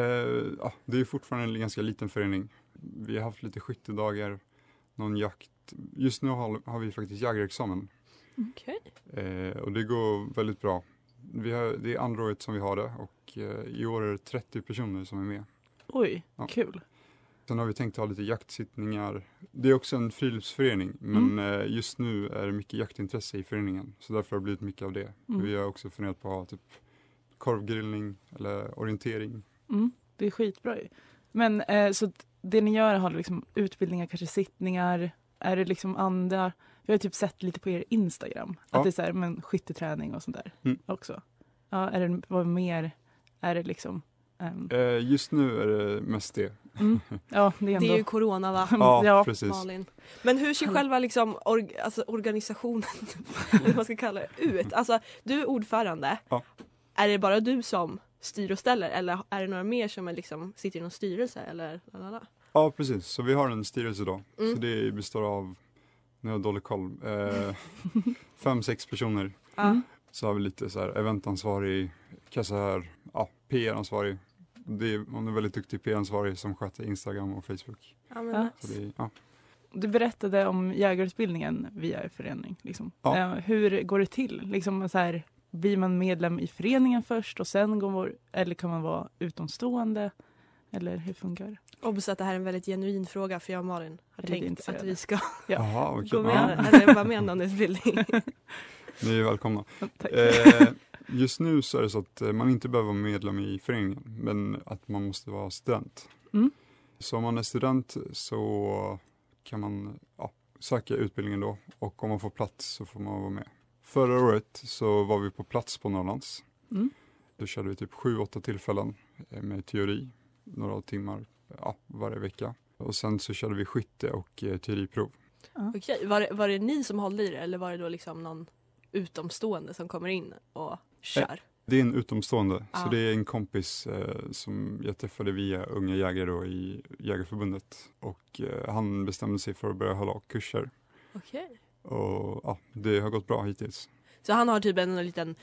Speaker 6: ja, det är ju fortfarande en ganska liten förening. Vi har haft lite skyttedagar, någon jakt. Just nu har, har vi faktiskt jägarexamen
Speaker 2: Okej.
Speaker 6: eh, och det går väldigt bra. Vi har, det är andra året som vi har det och eh, i år är det 30 personer som är med.
Speaker 4: Oj,
Speaker 6: Ja.
Speaker 4: kul.
Speaker 6: Sen har vi tänkt ha lite jaktsittningar. Det är också en friluftsförening
Speaker 4: Mm.
Speaker 6: men eh, just nu är det mycket jaktintresse i föreningen så därför har det blivit mycket av det.
Speaker 4: Mm.
Speaker 6: Vi har också funderat på att ha typ korvgrillning eller orientering.
Speaker 4: Mm. Det är skitbra ju. Men eh, så att det ni gör har liksom utbildningar, kanske sittningar, är det liksom andra? Jag har typ sett lite på er Instagram
Speaker 6: Ja.
Speaker 4: att det är så här, men skytteträning och sånt där
Speaker 6: Mm.
Speaker 4: också. Ja, är det vad mer? Är det liksom? ehm,
Speaker 6: Eh, just nu är det mest det.
Speaker 4: mm, ja, det är ändå.
Speaker 2: Det är ju corona va?
Speaker 6: Ja,
Speaker 4: [laughs] Ja.
Speaker 6: precis.
Speaker 2: Malin. Men hur ser själva liksom org- alltså organisationen, [laughs] eller vad man ska kalla det, ut? Alltså du är ordförande.
Speaker 6: Ja.
Speaker 2: Är det bara du som styr och ställer eller är det några mer som är liksom, sitter i någon styrelse eller? Lalala?
Speaker 6: Ja precis, så vi har en styrelse idag.
Speaker 2: Mm.
Speaker 6: Så det består av, nu har jag dålig koll,
Speaker 4: [laughs]
Speaker 6: eh, fem, sex personer.
Speaker 4: Mm.
Speaker 2: Ja.
Speaker 6: Så har vi lite så här eventansvarig, kassör, ja, PR-ansvarig. Det är, hon är väldigt duktig PR-ansvarig som sköter Instagram och Facebook.
Speaker 2: Ja, men,
Speaker 4: Ja.
Speaker 6: Så det, ja.
Speaker 4: Du berättade om jägarutbildningen via er förening. Liksom.
Speaker 6: Ja.
Speaker 4: Eh, hur går det till? Liksom, så här, blir man medlem i föreningen först och sen går man, eller kan man vara utomstående? Eller hur funkar det?
Speaker 2: Obs att det här är en väldigt genuin fråga för jag och Malin har
Speaker 4: Är lite
Speaker 2: tänkt att
Speaker 4: intresserade.
Speaker 2: vi ska
Speaker 4: Ja.
Speaker 6: Jaha, okej.
Speaker 2: gå med,
Speaker 6: Ja,
Speaker 2: eller vara med i
Speaker 6: [laughs]
Speaker 2: någon utbildning.
Speaker 6: ni är välkomna.
Speaker 4: Tack.
Speaker 6: Eh, just nu så är det så att eh, man inte behöver vara medlem i föreningen, men att man måste vara student.
Speaker 4: Mm.
Speaker 6: Så om man är student så kan man ja, söka utbildningen då och om man får plats så får man vara med. Förra året så var vi på plats på Norrlands.
Speaker 4: Mm.
Speaker 6: Då körde vi typ sju, åtta tillfällen eh, med teori, några timmar ja, varje vecka. Och sen så körde vi skytte och eh, teoriprov.
Speaker 2: Okej, var det, var det ni som håller i det eller var det då liksom någon utomstående som kommer in
Speaker 6: Eh,
Speaker 2: och kör?
Speaker 6: Det är en utomstående,
Speaker 2: Ja.
Speaker 6: så det är en kompis eh, som jag träffade via Unga Jägare då i Jägarförbundet och eh, han bestämde sig för att börja hålla kurser
Speaker 2: Okej.
Speaker 6: och ja, det har gått bra hittills.
Speaker 2: Så han har typ en liten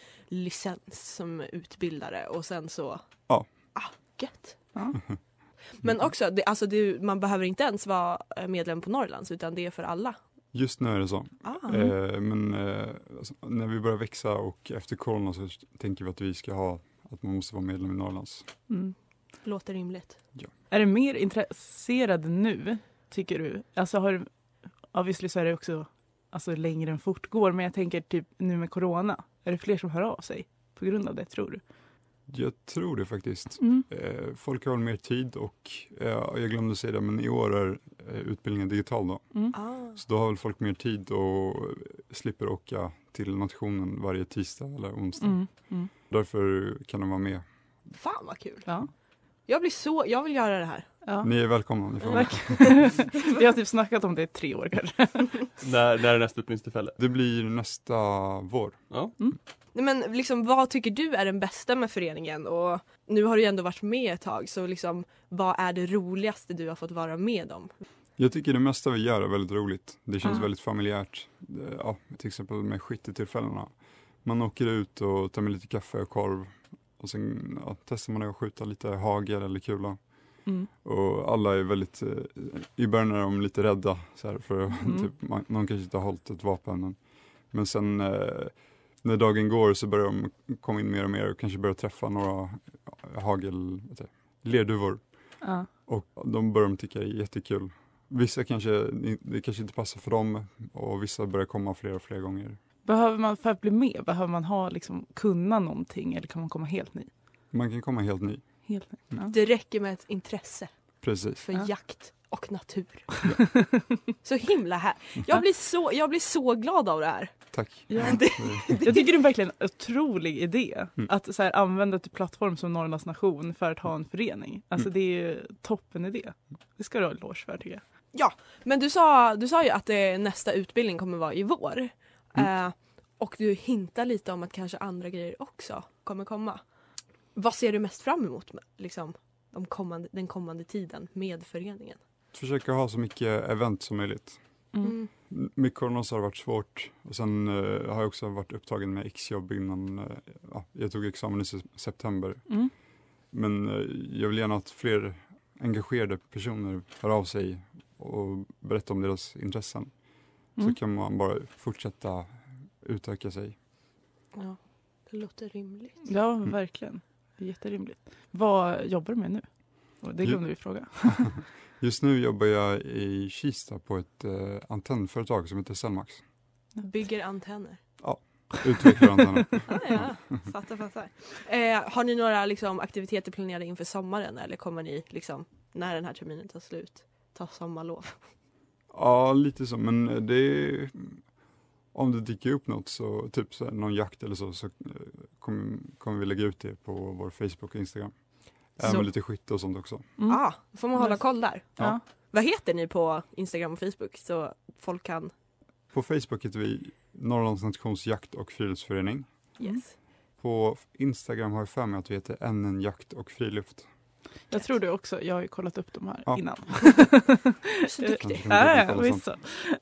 Speaker 2: licens som utbildare och sen så...
Speaker 6: Ja.
Speaker 2: Ah, gött.
Speaker 4: Ja.
Speaker 2: [laughs] Men också, det, alltså det, är ju- man behöver inte ens vara eh, medlem på Norrlands utan det är för alla.
Speaker 6: Just nu är det så,
Speaker 2: Ah.
Speaker 6: eh, men eh, alltså, när vi börjar växa och efter corona så tänker vi att vi ska ha att man måste vara medlem i Norrlands.
Speaker 4: Mm.
Speaker 2: Låter rimligt.
Speaker 4: Är du mer intresserad nu, tycker du? Alltså har du, obviously så är det också alltså, längre än fortgår, men jag tänker typ nu med corona. Är det fler som hör av sig på grund av det, tror du?
Speaker 6: Jag tror det faktiskt.
Speaker 4: Mm.
Speaker 6: Eh, folk har väl mer tid och eh, jag glömde säga det, men i år är eh, utbildningen digital då.
Speaker 4: Mm.
Speaker 2: Ah.
Speaker 6: Så då har väl folk mer tid och eh, slipper åka till nationen varje tisdag eller onsdag.
Speaker 4: Mm. Mm.
Speaker 6: Därför kan de vara med.
Speaker 2: Fan vad kul.
Speaker 4: Ja.
Speaker 2: Jag blir så, jag vill göra det här.
Speaker 4: Ja.
Speaker 6: Ni är välkomna. Ni får vara med.
Speaker 4: Vi har typ snackat om det i tre år kanske.
Speaker 3: När, när är nästa utbildningstillfälle?
Speaker 6: Det blir nästa vår.
Speaker 2: Nej, Men liksom, vad tycker du är den bästa med föreningen? Och nu har du ju ändå varit med ett tag så liksom, vad är det roligaste du har fått vara med om?
Speaker 6: Jag tycker det mesta vi gör är väldigt roligt. Det känns
Speaker 4: Ja.
Speaker 6: väldigt familjärt. Eh, Det- Ja, till exempel med skyttetillfällena. Man åker ut och tar med lite kaffe och korv. Och sen ja, testar man att skjuta lite hagel eller kula.
Speaker 4: Mm.
Speaker 6: Och alla är väldigt, eh, i början är de lite rädda så här, för
Speaker 4: Mm.
Speaker 6: typ, man, någon kanske inte har hållit ett vapen. Men, men sen eh, när dagen går så börjar de komma in mer och mer och kanske börjar träffa några hagel, vad heter det, lerduvor.
Speaker 4: Ja.
Speaker 6: Och de börjar de tycka är jättekul. Vissa kanske, det kanske inte passar för dem och vissa börjar komma fler och fler gånger.
Speaker 4: Behöver man för att bli med, behöver man ha liksom, kunna någonting eller kan man komma helt ny?
Speaker 6: Man kan komma helt ny.
Speaker 4: Helt ny. Ja.
Speaker 2: Det räcker med ett intresse
Speaker 6: Precis.
Speaker 2: för
Speaker 4: Ja.
Speaker 2: jakt och
Speaker 4: [laughs]
Speaker 2: natur. så himla här. Jag blir så, jag blir så glad av det här.
Speaker 6: Tack.
Speaker 2: [laughs]
Speaker 4: Ja.
Speaker 6: Ja, det-
Speaker 4: Jag tycker det är verkligen en otrolig idé
Speaker 6: Mm.
Speaker 4: att så här, använda till plattform som Norrlands nation för att ha en förening. Alltså
Speaker 6: Mm.
Speaker 4: det är ju toppen idé. Det ska du ha en eloge för tycker jag.
Speaker 2: Men du sa, du sa ju att det, nästa utbildning kommer vara i vår.
Speaker 4: Mm.
Speaker 2: Eh, och du hintar lite om att kanske andra grejer också kommer komma. Vad ser du mest fram emot med, liksom, de kommande, den kommande tiden med föreningen?
Speaker 6: Försöka ha så mycket event som möjligt.
Speaker 4: Mm.
Speaker 6: Med corona så har det varit svårt och sen eh, har jag också varit upptagen med exjobb innan eh, ja, jag tog examen i se- september.
Speaker 4: Mm.
Speaker 6: Men eh, jag vill gärna att fler engagerade personer hör av sig och berättar om deras intressen.
Speaker 4: Mm.
Speaker 6: Så kan man bara fortsätta utöka sig.
Speaker 2: Ja, det låter rimligt.
Speaker 4: Ja,
Speaker 6: Mm.
Speaker 4: verkligen. Det är jätterimligt. Vad jobbar du med nu? Och Det
Speaker 6: Jo.
Speaker 4: glömde vi fråga.
Speaker 6: Just nu jobbar jag i Kista på ett eh, antennföretag som heter Cellmax.
Speaker 2: Bygger antenner.
Speaker 6: Utvecklar antenner.
Speaker 2: Ah, ja, fattar, fattar. Eh, har ni några liksom, aktiviteter planerade inför sommaren eller kommer ni liksom, när den här terminen tar slut ta sommarlov?
Speaker 6: Ja, lite så, men det är, om det dyker upp något så, typ så här, någon jakt eller så, så eh, kommer, kommer vi lägga ut det på vår Facebook och Instagram.
Speaker 2: Så-
Speaker 6: Även lite skytte och sånt också.
Speaker 4: Mm.
Speaker 2: Ah, då får man hålla koll där.
Speaker 4: Ja.
Speaker 2: Vad heter ni på Instagram och Facebook så folk kan...
Speaker 6: På Facebook heter vi Norrlands Nations Jakt och Friluftsförening.
Speaker 4: Mm.
Speaker 2: Yes.
Speaker 6: På Instagram har jag för mig att vi heter NN Jakt och Friluft.
Speaker 4: Jag tror du också. Jag har ju kollat upp de här
Speaker 6: Ja.
Speaker 4: innan.
Speaker 6: [laughs]
Speaker 2: Så duktig.
Speaker 6: Kanske
Speaker 4: Ja,
Speaker 6: kan
Speaker 4: ja,
Speaker 6: uttala
Speaker 4: Ah, visst
Speaker 6: sånt.
Speaker 4: så.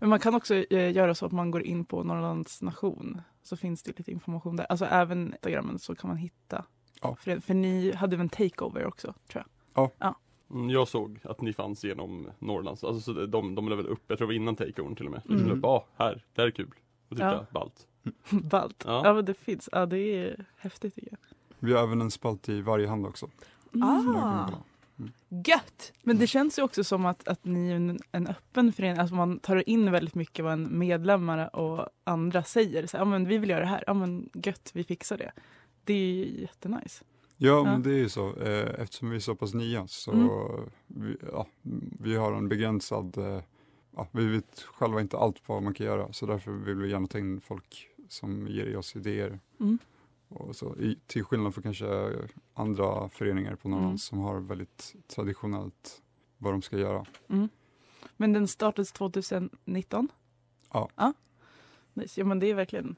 Speaker 4: Men man kan också eh, göra så att man går in på Norrlands nation så finns det lite information där. Alltså även Instagramen så kan man hitta.
Speaker 6: Ja.
Speaker 4: För, för ni hade väl en takeover också tror jag. [laughs]
Speaker 3: Mm, Jag såg att ni fanns genom Norrlands, alltså så de, de la väl upp, jag tror det var innan takeovern till och med.
Speaker 4: Mm.
Speaker 3: De la upp, ah, här, det här är kul. Och tyckte
Speaker 4: Ja.
Speaker 3: jag, ballt.
Speaker 4: Ballt. Ja.
Speaker 3: Ja.
Speaker 4: men det finns. Ja det är häftigt tycker jag.
Speaker 6: Vi har även en spalt i varje hand också. som jag kan
Speaker 2: Ah,
Speaker 6: kolla.
Speaker 2: gött!
Speaker 4: Men det känns ju också som att, att ni är en, en öppen förening. Alltså man tar in väldigt mycket vad en medlemmar och andra säger. Så, här, ja men vi vill göra det här. Ja men gött vi fixar det. Det är ju jättenice.
Speaker 6: Ja, men det är ju så. Eh, Eftersom vi är så pass nya så vi, ja, vi har en begränsad... eh, Ja, vi vet själva inte allt vad man kan göra så därför vill vi gärna ta in folk som ger oss idéer.
Speaker 4: Mm.
Speaker 6: Och så, i, till skillnad från kanske andra föreningar på Norrland
Speaker 4: Mm.
Speaker 6: som har väldigt traditionellt vad de ska göra.
Speaker 4: Men den startades 2019?
Speaker 6: Ja.
Speaker 4: ja. Nice. Ja men det är verkligen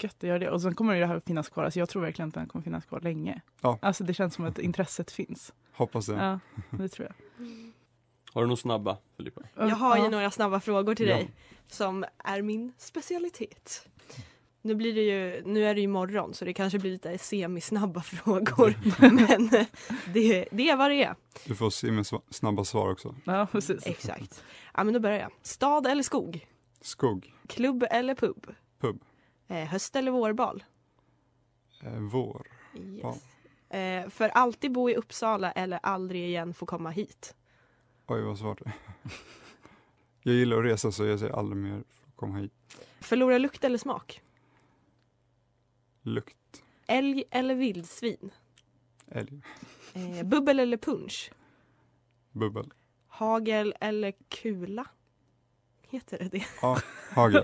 Speaker 4: gött att göra det. Och sen kommer ju det här att finnas kvar. Alltså jag tror verkligen att den kommer finnas kvar länge.
Speaker 6: Ja.
Speaker 4: Alltså det känns som att intresset finns.
Speaker 6: Hoppas det.
Speaker 4: Ja, det tror jag.
Speaker 3: Har du någon snabba Filippa?
Speaker 2: Jag har ju
Speaker 4: ja.
Speaker 2: några snabba frågor till
Speaker 6: Ja.
Speaker 2: dig som är min specialitet. Nu, blir det ju, nu är det ju morgon så det kanske blir lite semisnabba [laughs] frågor men eh, det, det är vad det är.
Speaker 6: Du får se med sva- snabba svar också.
Speaker 4: Ja, precis.
Speaker 2: Exakt. Ja men då börjar jag. Stad eller skog?
Speaker 6: Skog,
Speaker 2: Klubb eller pub?
Speaker 6: Pub.
Speaker 2: Eh, höst eller vårbal?
Speaker 6: eh, vår, Bal.
Speaker 2: Yes. Eh, för alltid bo i Uppsala eller aldrig igen få komma hit?
Speaker 6: oj vad svårt. [laughs] jag gillar att resa så jag säger aldrig mer komma hit.
Speaker 2: Förlora lukt eller smak?
Speaker 6: Lukt,
Speaker 2: Älg eller vildsvin?
Speaker 6: älg,
Speaker 2: Eh, bubbel eller punch?
Speaker 6: bubbel.
Speaker 2: Hagel eller kula? Heter
Speaker 4: [laughs]
Speaker 2: det det?
Speaker 6: Hagel.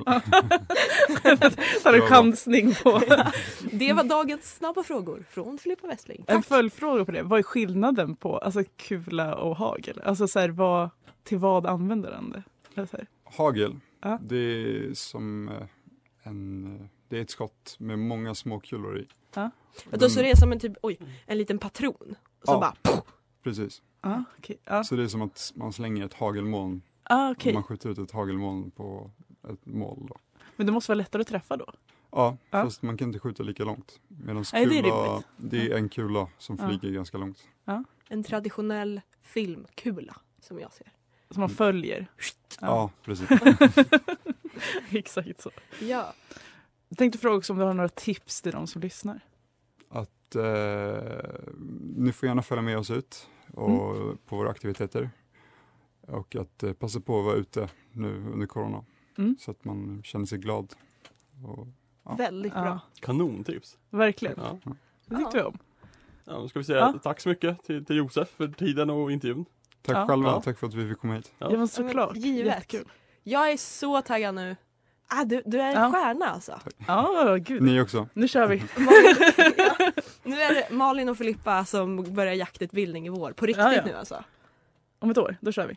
Speaker 4: Så har du chansning på.
Speaker 2: [laughs] Det var dagens snabba frågor från Filippa Westling.
Speaker 4: En
Speaker 2: Tack!
Speaker 4: följdfråga på det. Vad är skillnaden på alltså, kula och hagel? Alltså så här, vad, till vad använder den det? Eller så här.
Speaker 6: Hagel,
Speaker 4: Ja.
Speaker 6: det är som eh, en, eh, det är ett skott med många små kulor i.
Speaker 4: Ja.
Speaker 6: Den-
Speaker 2: Då så det är som en, typ, oj, en liten patron. Som
Speaker 6: Mm. Ja.
Speaker 2: bara, poff!
Speaker 6: Mm, Precis,
Speaker 4: Ja, okej. Ja.
Speaker 6: så det är som att man slänger ett hagelmoln,
Speaker 4: Ah, okej.
Speaker 6: man skjuter ut ett hagelmoln på ett mål. Då.
Speaker 4: Men det måste vara lättare att träffa då?
Speaker 6: Ja,
Speaker 4: Ja.
Speaker 6: fast man kan inte skjuta lika långt. Medan
Speaker 4: Nej, det är
Speaker 6: kula,
Speaker 4: rimligt.
Speaker 6: det är en kula som
Speaker 4: Ja.
Speaker 6: flyger ganska långt.
Speaker 2: En traditionell filmkula som jag ser.
Speaker 4: Som man följer.
Speaker 6: Ja,
Speaker 4: Ja.
Speaker 6: precis.
Speaker 4: [laughs] Exakt så.
Speaker 2: Ja.
Speaker 4: Jag tänkte fråga också om du har några tips till de som lyssnar.
Speaker 6: Att, eh, ni får gärna följa med oss ut och
Speaker 4: Mm.
Speaker 6: på våra aktiviteter. Och att eh, passa på att vara ute nu under corona.
Speaker 4: Mm.
Speaker 6: Så att man känner sig glad. Och, Ja.
Speaker 2: Väldigt bra.
Speaker 3: Kanontips!
Speaker 4: Verkligen.
Speaker 3: Ja.
Speaker 4: Det tyckte jag om.
Speaker 3: Ja, då ska vi säga
Speaker 4: Ja.
Speaker 3: tack så mycket till, till Josef för tiden och intervjun.
Speaker 6: tack
Speaker 4: Ja.
Speaker 6: själva,
Speaker 3: Ja.
Speaker 6: tack för att vi fick komma hit.
Speaker 4: Ja, men
Speaker 2: men
Speaker 4: såklart.
Speaker 2: givet.
Speaker 4: Jättekul.
Speaker 2: Jag är så taggad nu. Ah, du, du är en
Speaker 4: Ja.
Speaker 2: stjärna alltså. [laughs]
Speaker 4: Ja, gud.
Speaker 6: Ni också.
Speaker 4: Nu kör vi.
Speaker 2: Nu är det Malin och Filippa som börjar jaktutbildning i vår. På riktigt
Speaker 4: Ja, ja.
Speaker 2: nu alltså.
Speaker 4: Om ett år, då kör vi.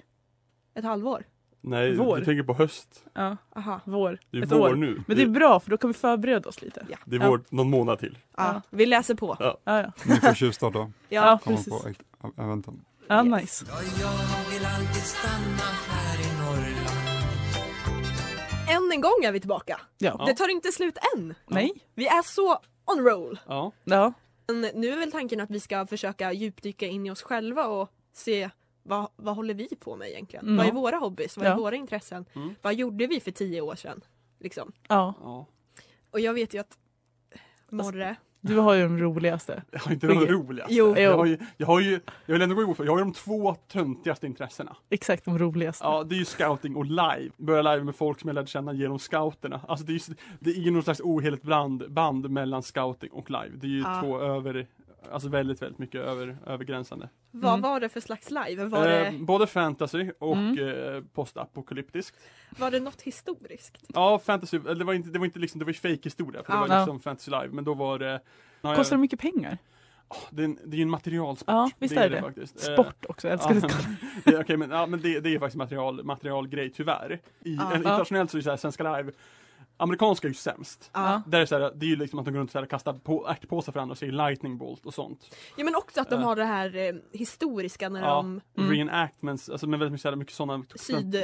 Speaker 2: Ett halvår.
Speaker 3: Nej,
Speaker 4: Vår.
Speaker 3: vi tänker på höst.
Speaker 4: Ja,
Speaker 2: Aha.
Speaker 4: vår.
Speaker 3: Det är
Speaker 4: Ett
Speaker 3: vår
Speaker 4: år.
Speaker 3: nu.
Speaker 4: Men det är bra för då kan vi förbereda oss lite.
Speaker 3: det är
Speaker 4: ja.
Speaker 3: vår någon månad till.
Speaker 2: Ja,
Speaker 4: Ja.
Speaker 2: Vi läser på.
Speaker 3: Ja.
Speaker 4: Ja, ja.
Speaker 6: Ni
Speaker 4: [laughs]
Speaker 6: får tjuvstarta,
Speaker 4: ja
Speaker 6: komma
Speaker 4: precis.
Speaker 6: på e- eventen.
Speaker 4: Ja,
Speaker 2: Yes.
Speaker 4: nice.
Speaker 5: Ja, jag vill alltid stanna här i Norrland.
Speaker 2: Än en gång är vi tillbaka.
Speaker 4: Ja.
Speaker 2: Det tar inte slut än.
Speaker 4: Nej.
Speaker 2: Vi är så on roll.
Speaker 3: Ja.
Speaker 4: Ja.
Speaker 2: Men nu är väl tanken att vi ska försöka djupdyka in i oss själva och se vad, vad håller vi på med egentligen?
Speaker 4: Mm.
Speaker 2: Vad är våra hobbys? Vad är
Speaker 4: Ja.
Speaker 2: våra intressen?
Speaker 3: Mm.
Speaker 2: Vad gjorde vi för tio år sedan? Liksom.
Speaker 4: ja.
Speaker 3: ja.
Speaker 2: Och jag vet ju att Morre,
Speaker 4: Du har ju de roligaste.
Speaker 3: Jag har inte de
Speaker 4: Okej.
Speaker 3: roligaste.
Speaker 2: Jo.
Speaker 3: Jag, har ju, jag har ju, jag vill ändå gå emot för jag har ju de två töntigaste intressena.
Speaker 4: Exakt de
Speaker 3: [laughs]
Speaker 4: roligaste.
Speaker 3: Ja, det är ju scouting och live. Börja live med folk som jag lärde känna genom scouterna. Alltså det är ju det är ju någon slags oheligt bland, band mellan scouting och live. Det är ju
Speaker 2: Ja.
Speaker 3: två över, alltså väldigt, väldigt mycket över, övergränsande.
Speaker 2: vad
Speaker 4: Mm.
Speaker 2: var det för slags live? Var,
Speaker 3: Eh,
Speaker 2: det,
Speaker 3: både fantasy och
Speaker 4: Mm.
Speaker 3: eh, postapokalyptiskt.
Speaker 2: var det något historiskt?
Speaker 3: Ja, fantasy, eller det var inte, det var inte liksom, det var ju fake historia för det
Speaker 2: Ja.
Speaker 3: var
Speaker 4: Ja.
Speaker 3: liksom fantasy live, men då var det Ja, jag-
Speaker 4: Kostar det mycket pengar?
Speaker 3: det, är en, det är ju en materialsport.
Speaker 4: Ja, visst är det.
Speaker 3: faktiskt. Eh,
Speaker 4: Sport också, jag älskar
Speaker 3: ja.
Speaker 4: det.
Speaker 3: Det är- Okej men, ja, men det, det är faktiskt material, materialgrej tyvärr. I,
Speaker 2: Ja.
Speaker 3: en, internationellt så är det så här, Svenska Live, amerikanska är ju sämst.
Speaker 2: Ja.
Speaker 3: Där är det, så här, det är ju liksom att de går runt och kastar på, ärtpåsar för varandra och säger lightning bolt och sånt.
Speaker 2: Ja men också att de
Speaker 3: Eh.
Speaker 2: har det här eh, historiska när
Speaker 3: Ja.
Speaker 2: de
Speaker 4: Mm.
Speaker 3: Reenactments, alltså med väldigt mycket, så här, mycket sådana.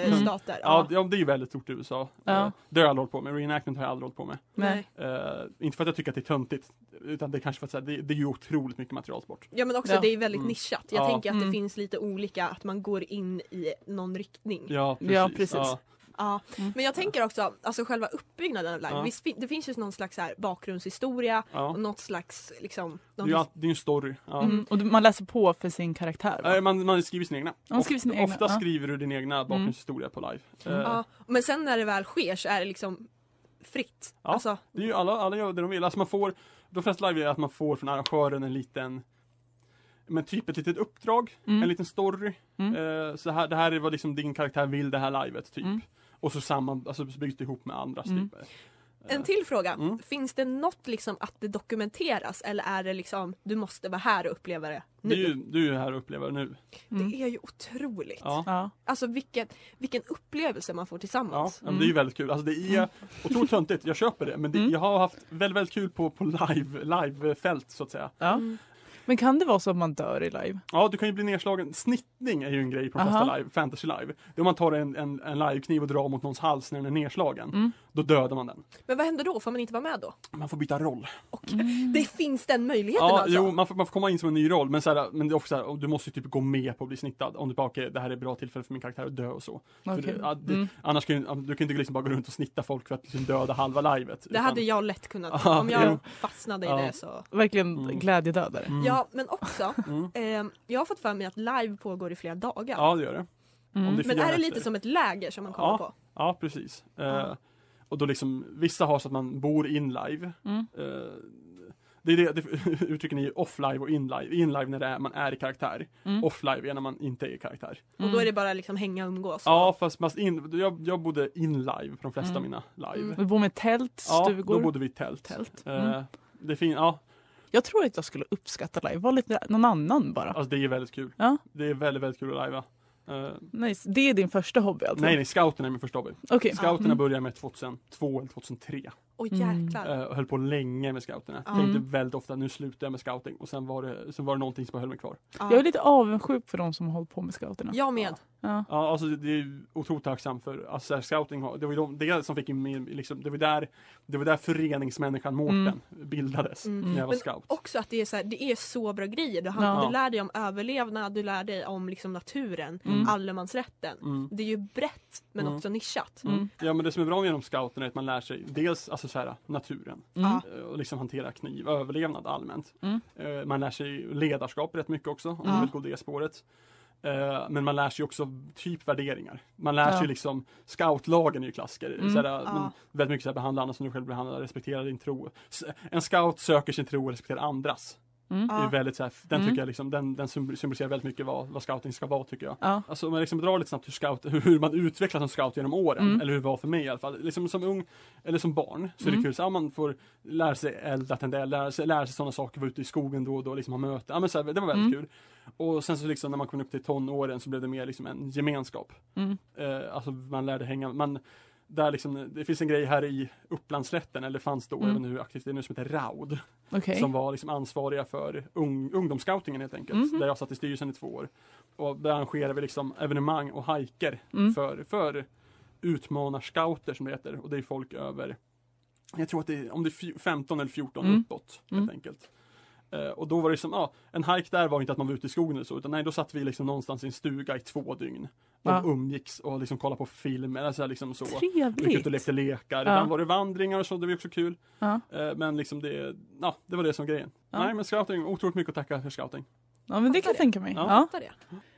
Speaker 2: sydstater.
Speaker 3: Ja, det- ja, det är ju väldigt stort i USA.
Speaker 4: Ja.
Speaker 3: Eh, Det har jag aldrig hållit på med, reenactment har jag aldrig hållit på med.
Speaker 4: Nej.
Speaker 3: Eh, inte för att jag tycker att det är töntigt, utan det är kanske för att så här, det, det är ju otroligt mycket materialsport.
Speaker 2: Ja men också
Speaker 4: Ja.
Speaker 2: det är väldigt
Speaker 3: Mm.
Speaker 2: nischat. Jag
Speaker 3: Ja.
Speaker 2: tänker att det
Speaker 4: Mm.
Speaker 2: finns lite olika, att man går in i någon riktning. Ja.
Speaker 3: Ja, precis.
Speaker 4: Ja, precis. Mm.
Speaker 2: Men jag tänker också, alltså själva uppbyggnaden av live.
Speaker 3: Ja.
Speaker 2: Visst, fin- det finns ju någon slags så här bakgrundshistoria
Speaker 3: Ja.
Speaker 2: och något slags liksom...
Speaker 3: Det
Speaker 2: någon-
Speaker 3: är ju all- det är ju en story. Ja.
Speaker 4: Mm. Och du- man läser på för sin karaktär
Speaker 3: Eh,
Speaker 4: va?
Speaker 3: Man, man skriver sina egna.
Speaker 4: Man skriver sina
Speaker 3: Oft-
Speaker 4: egna,
Speaker 3: Ofta
Speaker 4: ja. Mm.
Speaker 3: skriver du din egna bakgrundshistoria på live. Eh,
Speaker 2: Ja. Men sen när det väl sker så är det liksom fritt.
Speaker 3: Ja.
Speaker 2: Alltså,
Speaker 3: Det är ju alla, alla gör det de vill. Alltså man får, de flesta live är att man får från arrangören en liten men typ ett litet uppdrag,
Speaker 4: Mm.
Speaker 3: en liten story.
Speaker 4: Mm.
Speaker 3: Eh, så här, det här är vad liksom din karaktär vill det här livet, typ.
Speaker 4: Mm.
Speaker 3: Och så, samman, alltså, så byggs det ihop med andras
Speaker 4: Mm.
Speaker 3: typ.
Speaker 2: en till fråga.
Speaker 3: Mm.
Speaker 2: Finns det något liksom att det dokumenteras eller är det liksom du måste vara här och uppleva det
Speaker 3: Det
Speaker 2: nu?
Speaker 3: är ju, du är ju här och upplever nu.
Speaker 4: Mm.
Speaker 2: Det är ju otroligt.
Speaker 3: Ja.
Speaker 4: Ja.
Speaker 2: Alltså vilket, vilken upplevelse man får
Speaker 3: Ja,
Speaker 2: tillsammans.
Speaker 3: ja, men det är ju väldigt kul. Alltså det är otroligt töntigt, jag köper det. Men det,
Speaker 4: Mm.
Speaker 3: jag har haft väldigt, väldigt kul på, på live, livefält så att säga.
Speaker 4: Ja.
Speaker 2: Mm.
Speaker 4: Men kan det vara så att man dör i live?
Speaker 3: Ja, du kan ju bli nedslagen. Snittning är ju en grej på de
Speaker 4: Aha.
Speaker 3: flesta live, fantasy live. Det är om man tar en, en, en livekniv och drar mot någons hals när den är nedslagen.
Speaker 4: Mm.
Speaker 3: Då dödar man den.
Speaker 2: Men vad händer då? Får man inte vara med då?
Speaker 3: Man får byta roll.
Speaker 2: Och
Speaker 4: Mm.
Speaker 2: det finns den möjligheten
Speaker 3: Ja,
Speaker 2: alltså?
Speaker 3: jo, man får, man får komma in som en ny roll. Men, så här, men det är också så här, och du måste ju typ gå med på att bli snittad. Om du bara, okej, det här är ett bra tillfälle för min karaktär att dö och så. För
Speaker 4: Okej.
Speaker 3: det, ja, det,
Speaker 4: Mm.
Speaker 3: Annars kan ju, du kan ju inte liksom bara gå runt och snitta folk för att liksom döda halva livet.
Speaker 2: Det hade jag lätt kunnat.
Speaker 3: Ja,
Speaker 2: Om jag
Speaker 3: jo.
Speaker 2: fastnade i
Speaker 3: Ja.
Speaker 2: det så.
Speaker 4: Verkligen
Speaker 3: Mm.
Speaker 4: glädjedödare.
Speaker 3: Mm.
Speaker 2: Ja, men också.
Speaker 3: Mm.
Speaker 2: ehm, jag har fått för mig att live pågår i flera dagar.
Speaker 3: Ja, det gör det.
Speaker 4: Mm.
Speaker 3: Om det
Speaker 2: men
Speaker 3: fria
Speaker 2: är det
Speaker 3: nätter.
Speaker 2: lite som ett läger som man kollar
Speaker 3: Ja.
Speaker 2: på?
Speaker 3: Ja, precis. Eh,
Speaker 4: Ja.
Speaker 3: och då liksom, vissa har så att man bor in live.
Speaker 4: Mm.
Speaker 3: Eh, det är det, det [laughs] uttrycken är ju off-live och in-live. In-live när det är, man är i karaktär.
Speaker 4: Mm.
Speaker 3: Off-live är när man inte är i karaktär.
Speaker 2: Och då är det bara liksom hänga och umgås?
Speaker 3: Ja, fast, fast in, jag, jag bodde in-live för de flesta av
Speaker 4: Mm.
Speaker 3: mina live.
Speaker 2: Mm.
Speaker 4: Vi bor med tält,
Speaker 3: Ja,
Speaker 4: stugor.
Speaker 3: då bodde vi i tält.
Speaker 4: Tält.
Speaker 3: Eh,
Speaker 4: Mm.
Speaker 3: det är fin, ja,
Speaker 4: Jag tror att jag skulle uppskatta live, var lite någon annan bara.
Speaker 3: alltså det är väldigt kul.
Speaker 4: Ja.
Speaker 3: Det är väldigt, väldigt kul att livea. Eh,
Speaker 4: Nice. Det är din första hobby alltså?
Speaker 3: nej, nej, scouterna är min första hobby.
Speaker 4: Okej.
Speaker 3: Scouterna
Speaker 4: Mm.
Speaker 3: började med 2002 eller 2003.
Speaker 2: Åh
Speaker 4: Mm.
Speaker 2: jäklar.
Speaker 3: Eh, och höll på länge med scouterna.
Speaker 2: Ja.
Speaker 3: Jag tänkte
Speaker 4: Mm.
Speaker 3: väldigt ofta, nu slutar jag med scouting. Och sen var det, sen var det någonting som höll mig kvar.
Speaker 2: Ja.
Speaker 4: Jag är lite avundsjuk för de som har hållit på med scouterna.
Speaker 2: Jag med.
Speaker 4: Ja.
Speaker 3: Ja, alltså det är ju otroligt tacksam för, alltså så här, scouting, har- det var ju de, det som fick in min, liksom, det var där, det var där föreningsmänniskan Mårten bildades.
Speaker 2: Mm.
Speaker 3: När jag var
Speaker 2: Men
Speaker 3: scout.
Speaker 2: Också att det är så, här, det är så bra grejer. Du, han,
Speaker 4: Ja.
Speaker 2: du lär dig om överlevnad, du lär dig om liksom naturen,
Speaker 4: Mm.
Speaker 2: allemansrätten.
Speaker 3: Mm.
Speaker 2: Det är ju brett men
Speaker 3: Mm.
Speaker 2: också nischat.
Speaker 4: Mm.
Speaker 3: Ja men det som är bra genom scouterna är att man lär sig dels alltså så här, naturen
Speaker 4: Mm.
Speaker 2: Ja.
Speaker 3: eh, och liksom hantera kniv, överlevnad allmänt.
Speaker 4: Mm.
Speaker 3: Eh, Man lär sig ledarskap rätt mycket också om
Speaker 2: Ja.
Speaker 3: man vill gå det spåret. Eh, Men man lär sig också typ värderingar. Man lär
Speaker 4: Ja.
Speaker 3: sig liksom Scoutlagen är ju klassiker.
Speaker 4: Mm.
Speaker 3: Såhär, men
Speaker 2: Ja.
Speaker 3: väldigt mycket såhär, behandla andra som du själv behandlar, respektera din tro. S- En scout söker sin tro och respekterar andras.
Speaker 4: Mm.
Speaker 3: Det
Speaker 2: Ja.
Speaker 3: är väldigt såhär, den
Speaker 4: Mm.
Speaker 3: tycker jag liksom, den, den symbol- symboliserar väldigt mycket vad, vad scouting ska vara tycker jag.
Speaker 4: Ja.
Speaker 3: Alltså om jag liksom drar lite snabbt hur, scout, hur man utvecklas som scout genom åren,
Speaker 4: Mm.
Speaker 3: eller hur det var för mig i alla fall. Liksom som ung, eller som barn, så är
Speaker 4: Mm.
Speaker 3: det kul. Så, ja, man får lära sig elda tändel, lära sig, lära sig sådana saker, vara ute i skogen då och då, liksom ha möten. Ja, men så här, det var
Speaker 4: Mm.
Speaker 3: väldigt kul. Och sen så liksom när man kom upp till tonåren så blev det mer liksom en gemenskap.
Speaker 4: Mm.
Speaker 3: Eh, alltså man lärde hänga, man där liksom, det finns en grej här i Upplandsslätten, eller fanns då,
Speaker 4: Mm.
Speaker 3: jag vet inte hur aktivt det är nu, som heter RAUD.
Speaker 4: Okej.
Speaker 3: Som var liksom ansvariga för ung, ungdomsscoutingen helt enkelt.
Speaker 4: Mhm.
Speaker 3: Där jag satt i styrelsen i två år. Och där arrangerade vi liksom evenemang och hajker
Speaker 4: Mm.
Speaker 3: för, för utmanarscouter som det heter. Och det är folk över, jag tror att det är om det är fj- 15 eller 14
Speaker 4: Mm.
Speaker 3: uppåt helt
Speaker 4: Mm.
Speaker 3: enkelt. Eh, och då var det som, ja, en hajk där var inte att man var ute i skogen eller så, utan nej, då satt vi liksom någonstans i en stuga i två dygn. Och
Speaker 4: Ja.
Speaker 3: umgicks och liksom kollade på film eller så här, liksom så. Vi gick ut och
Speaker 4: Trevligt.
Speaker 3: lekte lekar,
Speaker 4: Ja.
Speaker 3: ibland var det vandringar och så, det var ju också kul.
Speaker 4: Ja.
Speaker 3: Eh, Men liksom det, ja, det var det som grejen.
Speaker 4: Ja.
Speaker 3: Nej men scouting, otroligt mycket att tacka för scouting.
Speaker 4: Ja men det kan jag tänka mig.
Speaker 3: Ja.
Speaker 4: Ja.
Speaker 2: Fattar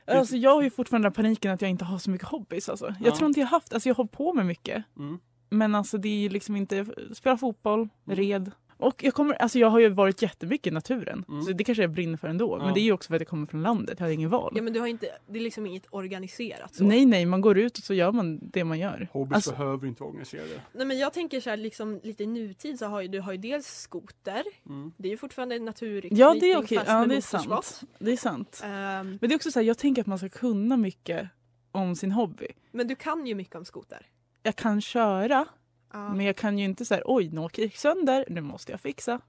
Speaker 2: det.
Speaker 4: Alltså, jag har ju fortfarande paniken att jag inte har så mycket hobbys. Alltså. Jag
Speaker 3: Ja.
Speaker 4: tror inte jag har haft, alltså jag har hållit på med mycket.
Speaker 3: Mm.
Speaker 4: Men alltså det är ju liksom inte, spela fotboll,
Speaker 2: Mm.
Speaker 4: red. Och jag, kommer, alltså jag har ju varit jättemycket i naturen.
Speaker 3: Mm.
Speaker 4: Så det kanske jag brinner för ändå.
Speaker 3: Ja.
Speaker 4: Men det är ju också för att jag kommer från landet, jag hade ingen val.
Speaker 2: Ja men du har inte, det är liksom inget organiserat så.
Speaker 4: nej nej, man går ut och så gör man det man gör.
Speaker 3: Hobbys
Speaker 4: Alltså-
Speaker 3: behöver ju inte vara organiserade.
Speaker 2: Nej men jag tänker så här, liksom lite i nutid så har ju du har ju dels skoter,
Speaker 3: Mm.
Speaker 2: det är ju fortfarande naturanknytning
Speaker 4: Ja det är okej,
Speaker 2: fast
Speaker 4: ja,
Speaker 2: med
Speaker 4: det är sant.
Speaker 2: motorsport.
Speaker 4: Det är sant.
Speaker 2: Ehm,
Speaker 4: Men det är också så här, jag tänker att man ska kunna mycket om sin hobby.
Speaker 2: men du kan ju mycket om skoter.
Speaker 4: Jag kan köra,
Speaker 2: Ja.
Speaker 4: men jag kan ju inte så här, oj nu åker jag sönder, nu måste jag fixa.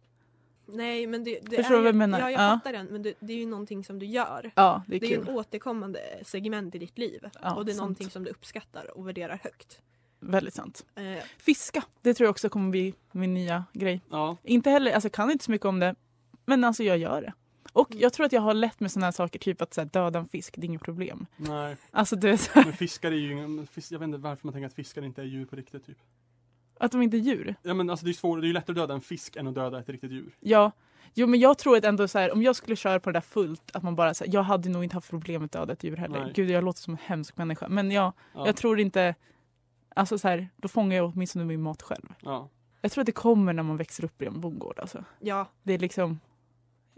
Speaker 2: Nej men det, det
Speaker 4: Förstår du
Speaker 2: är
Speaker 4: vad jag
Speaker 2: ju-
Speaker 4: menar?
Speaker 2: Ja jag
Speaker 4: Ja.
Speaker 2: fattar den men det, det är ju någonting som du gör.
Speaker 4: Ja, det är
Speaker 2: Det är ju
Speaker 4: kul.
Speaker 2: en återkommande segment i ditt liv
Speaker 4: Ja,
Speaker 2: och det är
Speaker 4: sant.
Speaker 2: någonting som du uppskattar och värderar högt.
Speaker 4: Väldigt sant.
Speaker 2: Eh,
Speaker 4: Fiska, det tror jag också kommer bli min nya grej.
Speaker 3: Ja,
Speaker 4: Inte heller, alltså jag kan inte så mycket om det, men alltså jag gör det. Och jag tror att jag har lätt med sådana här saker, typ att så här, döda en fisk, det är inget problem.
Speaker 3: nej.
Speaker 4: Alltså du vet, så här,
Speaker 3: Men fiskar är ju ingen, fisk, jag vet inte varför man tänker att fiskar inte är djur på riktigt typ.
Speaker 4: att de inte är djur.
Speaker 3: Ja men alltså det är svårare, det är ju lättare att döda en fisk än att döda ett riktigt djur.
Speaker 4: Ja, jo men jag tror att ändå så här, om jag skulle köra på det där fullt, att man bara så här, jag hade nog inte haft problem med att döda ett djur heller.
Speaker 3: Nej.
Speaker 4: Gud, jag låter som en hemsk människa. Men ja,
Speaker 3: Ja.
Speaker 4: jag tror inte, alltså så här, då fångar jag åtminstone min mat själv.
Speaker 3: Ja.
Speaker 4: Jag tror att det kommer när man växer upp i en bondgård alltså.
Speaker 2: ja,
Speaker 4: Det är liksom,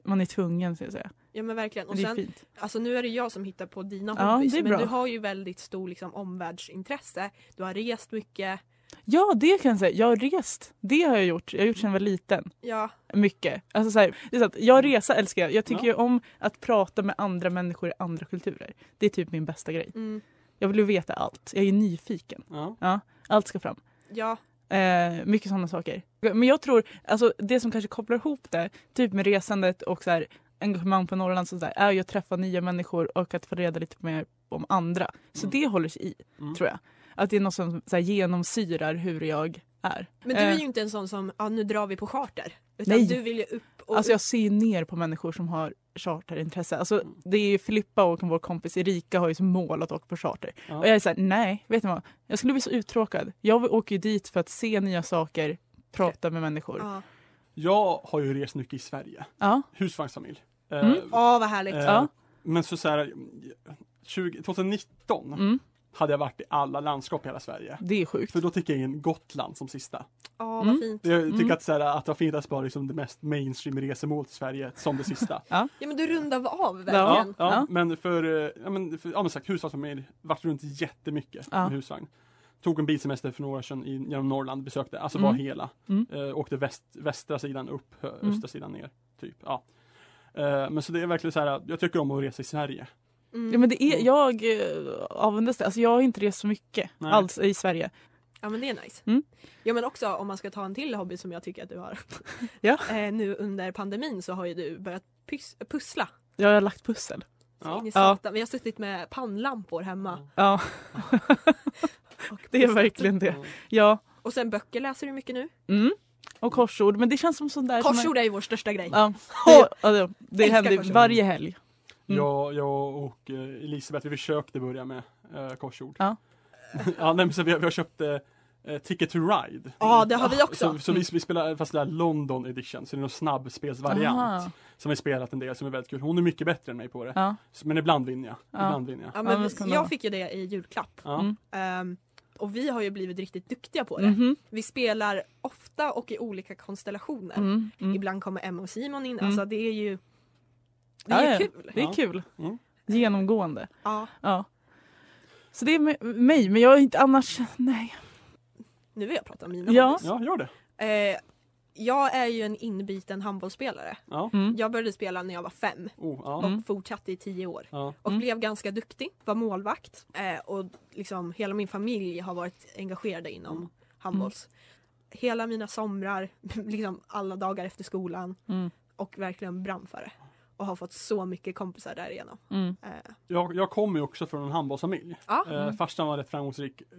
Speaker 4: man är tvungen så att säga.
Speaker 2: ja men verkligen. Och
Speaker 4: det är
Speaker 2: sen,
Speaker 4: fint.
Speaker 2: alltså, nu är det jag som hittar på dina
Speaker 4: Ja,
Speaker 2: hobbys
Speaker 4: det är
Speaker 2: men
Speaker 4: bra.
Speaker 2: du har ju väldigt stor liksom, omvärldsintresse. Du har rest mycket.
Speaker 4: Ja, det kan jag säga. Jag har rest. Det har jag gjort. Jag har gjort sedan jag var liten.
Speaker 2: Ja,
Speaker 4: Mycket. Alltså så här, det är så att jag
Speaker 3: Mm.
Speaker 4: resa älskar jag. Jag tycker ju om att prata med andra människor i andra kulturer. Det är typ min bästa grej.
Speaker 2: mm,
Speaker 4: Jag vill ju veta allt. Jag är ju nyfiken.
Speaker 3: Ja.
Speaker 4: Allt ska fram.
Speaker 2: ja.
Speaker 4: Eh, mycket sådana saker. Men jag tror, alltså det som kanske kopplar ihop det, typ med resandet och så här, engagemang på Norrland, så där, är ju att träffa nya människor och att få reda lite mer om andra. Så
Speaker 3: Mm.
Speaker 4: det håller sig i,
Speaker 3: Mm.
Speaker 4: tror jag. Att det är något som så här, genomsyrar hur jag är.
Speaker 2: Men du är
Speaker 4: Eh.
Speaker 2: ju inte en sån som, ja nu drar vi på charter. Utan
Speaker 4: Nej.
Speaker 2: du vill ju upp och
Speaker 4: Alltså jag ser ju ner på människor som har charterintresse. Alltså det är ju Filippa och vår kompis Erika har ju som mål att åka på charter.
Speaker 3: Ja.
Speaker 4: Och jag är såhär, nej, vet ni vad? Jag skulle bli så uttråkad. Jag åker ju dit för att se nya saker, prata med människor. Ja,
Speaker 2: Ja,
Speaker 3: Jag har ju rest mycket i Sverige,
Speaker 4: ja.
Speaker 3: husvagnsfamilj. Eh,
Speaker 4: Mm.
Speaker 2: Åh, vad härligt.
Speaker 3: eh,
Speaker 4: Ja.
Speaker 3: Men så, så här, 20, 2019
Speaker 4: Mm.
Speaker 3: hade jag varit i alla landskap i hela Sverige.
Speaker 4: det är sjukt.
Speaker 3: För då tycker jag in Gotland som sista.
Speaker 2: Åh,
Speaker 4: Mm.
Speaker 2: vad fint.
Speaker 3: Jag tycker
Speaker 4: Mm.
Speaker 3: att, så här, att vara finnas bara liksom det mest mainstream resemålet i Sverige som det sista.
Speaker 2: Ja men du rundar av
Speaker 3: Ja,
Speaker 2: verkligen.
Speaker 3: ja,
Speaker 4: [laughs] Ja.
Speaker 3: men för, eh, ja men för, ja men sagt husvagnsfamilj, vart runt jättemycket
Speaker 4: Ja.
Speaker 3: med husvagn. Tog en bilsemester för några år sedan i, genom Norrland, besökte, alltså var
Speaker 4: Mm.
Speaker 3: hela.
Speaker 4: Mm.
Speaker 3: Eh, åkte väst, västra sidan upp, hö, östra sidan ner. Typ, ja. Eh, men så det är verkligen så här, jag tycker om att resa i Sverige.
Speaker 2: Mm.
Speaker 4: Ja, men det är, jag eh, avundas det. Alltså jag har inte rest så mycket
Speaker 3: Nej.
Speaker 4: alls i Sverige.
Speaker 2: Ja men det är nice.
Speaker 4: Mm.
Speaker 2: Ja men också om man ska ta en till hobby som jag tycker att du har.
Speaker 4: [laughs] Ja.
Speaker 2: Eh, nu under pandemin så har ju du börjat pys- pussla.
Speaker 4: Jag har lagt pussel.
Speaker 3: Ja.
Speaker 2: Ja. Ni
Speaker 4: Ja.
Speaker 2: satan. Vi har suttit med pannlampor hemma.
Speaker 4: Ja, [laughs]
Speaker 2: [laughs] Och
Speaker 4: det är
Speaker 2: pusslat.
Speaker 4: verkligen det. Ja.
Speaker 2: Och sen böcker läser du mycket nu.
Speaker 4: Mm. Och korsord. Men det känns som sån där... som man-
Speaker 2: Korsord är ju vår största grej.
Speaker 4: Ja. Det, ja, det, det
Speaker 2: Älskar
Speaker 4: händer
Speaker 2: korsord.
Speaker 4: varje helg. Mm.
Speaker 3: Jag, jag och eh, Elisabeth, vi försökte börja med eh, korsord.
Speaker 4: Ja.
Speaker 3: [laughs] ja, nej, men så vi, har- vi har köpt eh, eh, Ticket to Ride.
Speaker 2: Ja det har vi också. Mm.
Speaker 3: Så, så vi, vi spelar fast det är London edition, så det är någon snabbspelsvariant
Speaker 4: Aha.
Speaker 3: som vi spelat en del som är väldigt kul. Hon är mycket bättre än mig på det.
Speaker 4: Ja.
Speaker 3: Så- Men ibland vinner jag.
Speaker 4: Ja.
Speaker 3: Ibland vinner jag.
Speaker 2: Ja,
Speaker 4: Ja,
Speaker 2: men
Speaker 4: men
Speaker 2: vi-
Speaker 4: ska man ha.
Speaker 2: jag fick ju det i julklapp.
Speaker 3: Ja.
Speaker 4: Mm.
Speaker 2: Ehm, och vi har ju blivit riktigt duktiga på det.
Speaker 4: Mhm.
Speaker 2: Vi spelar ofta och i olika konstellationer.
Speaker 4: Mm. Mm.
Speaker 2: Ibland kommer Emma och Simon in.
Speaker 4: Mm.
Speaker 2: Alltså det är ju det
Speaker 4: Ja,
Speaker 2: är
Speaker 4: ja.
Speaker 2: kul.
Speaker 4: Det
Speaker 3: Ja.
Speaker 4: är kul.
Speaker 3: Mm.
Speaker 4: Genomgående.
Speaker 2: Ja,
Speaker 4: Ja. Så det är med- mig, men jag är inte annars... Nej.
Speaker 2: nu vill jag prata om mina
Speaker 4: Ja.
Speaker 2: hobbys.
Speaker 3: ja, gör det.
Speaker 2: Eh, jag är ju en inbiten handbollsspelare.
Speaker 3: Ja.
Speaker 4: Mm.
Speaker 2: Jag började spela när jag var fem
Speaker 3: Oh, ja.
Speaker 4: Mm.
Speaker 2: och fortsatte i tio år.
Speaker 3: Ja.
Speaker 2: Och
Speaker 4: Mm.
Speaker 2: blev ganska duktig, var målvakt eh, och liksom hela min familj har varit engagerade
Speaker 4: Mm.
Speaker 2: inom handbolls. Hela mina somrar, [laughs] liksom alla dagar efter skolan
Speaker 4: Mm.
Speaker 2: och verkligen brann för det. Och har fått så mycket kompisar därigenom.
Speaker 4: Mm.
Speaker 2: Eh,
Speaker 3: Jag, jag kommer ju också från en handbollsfamilj.
Speaker 2: ja,
Speaker 3: Eh, farsan var rätt framgångsrik eh,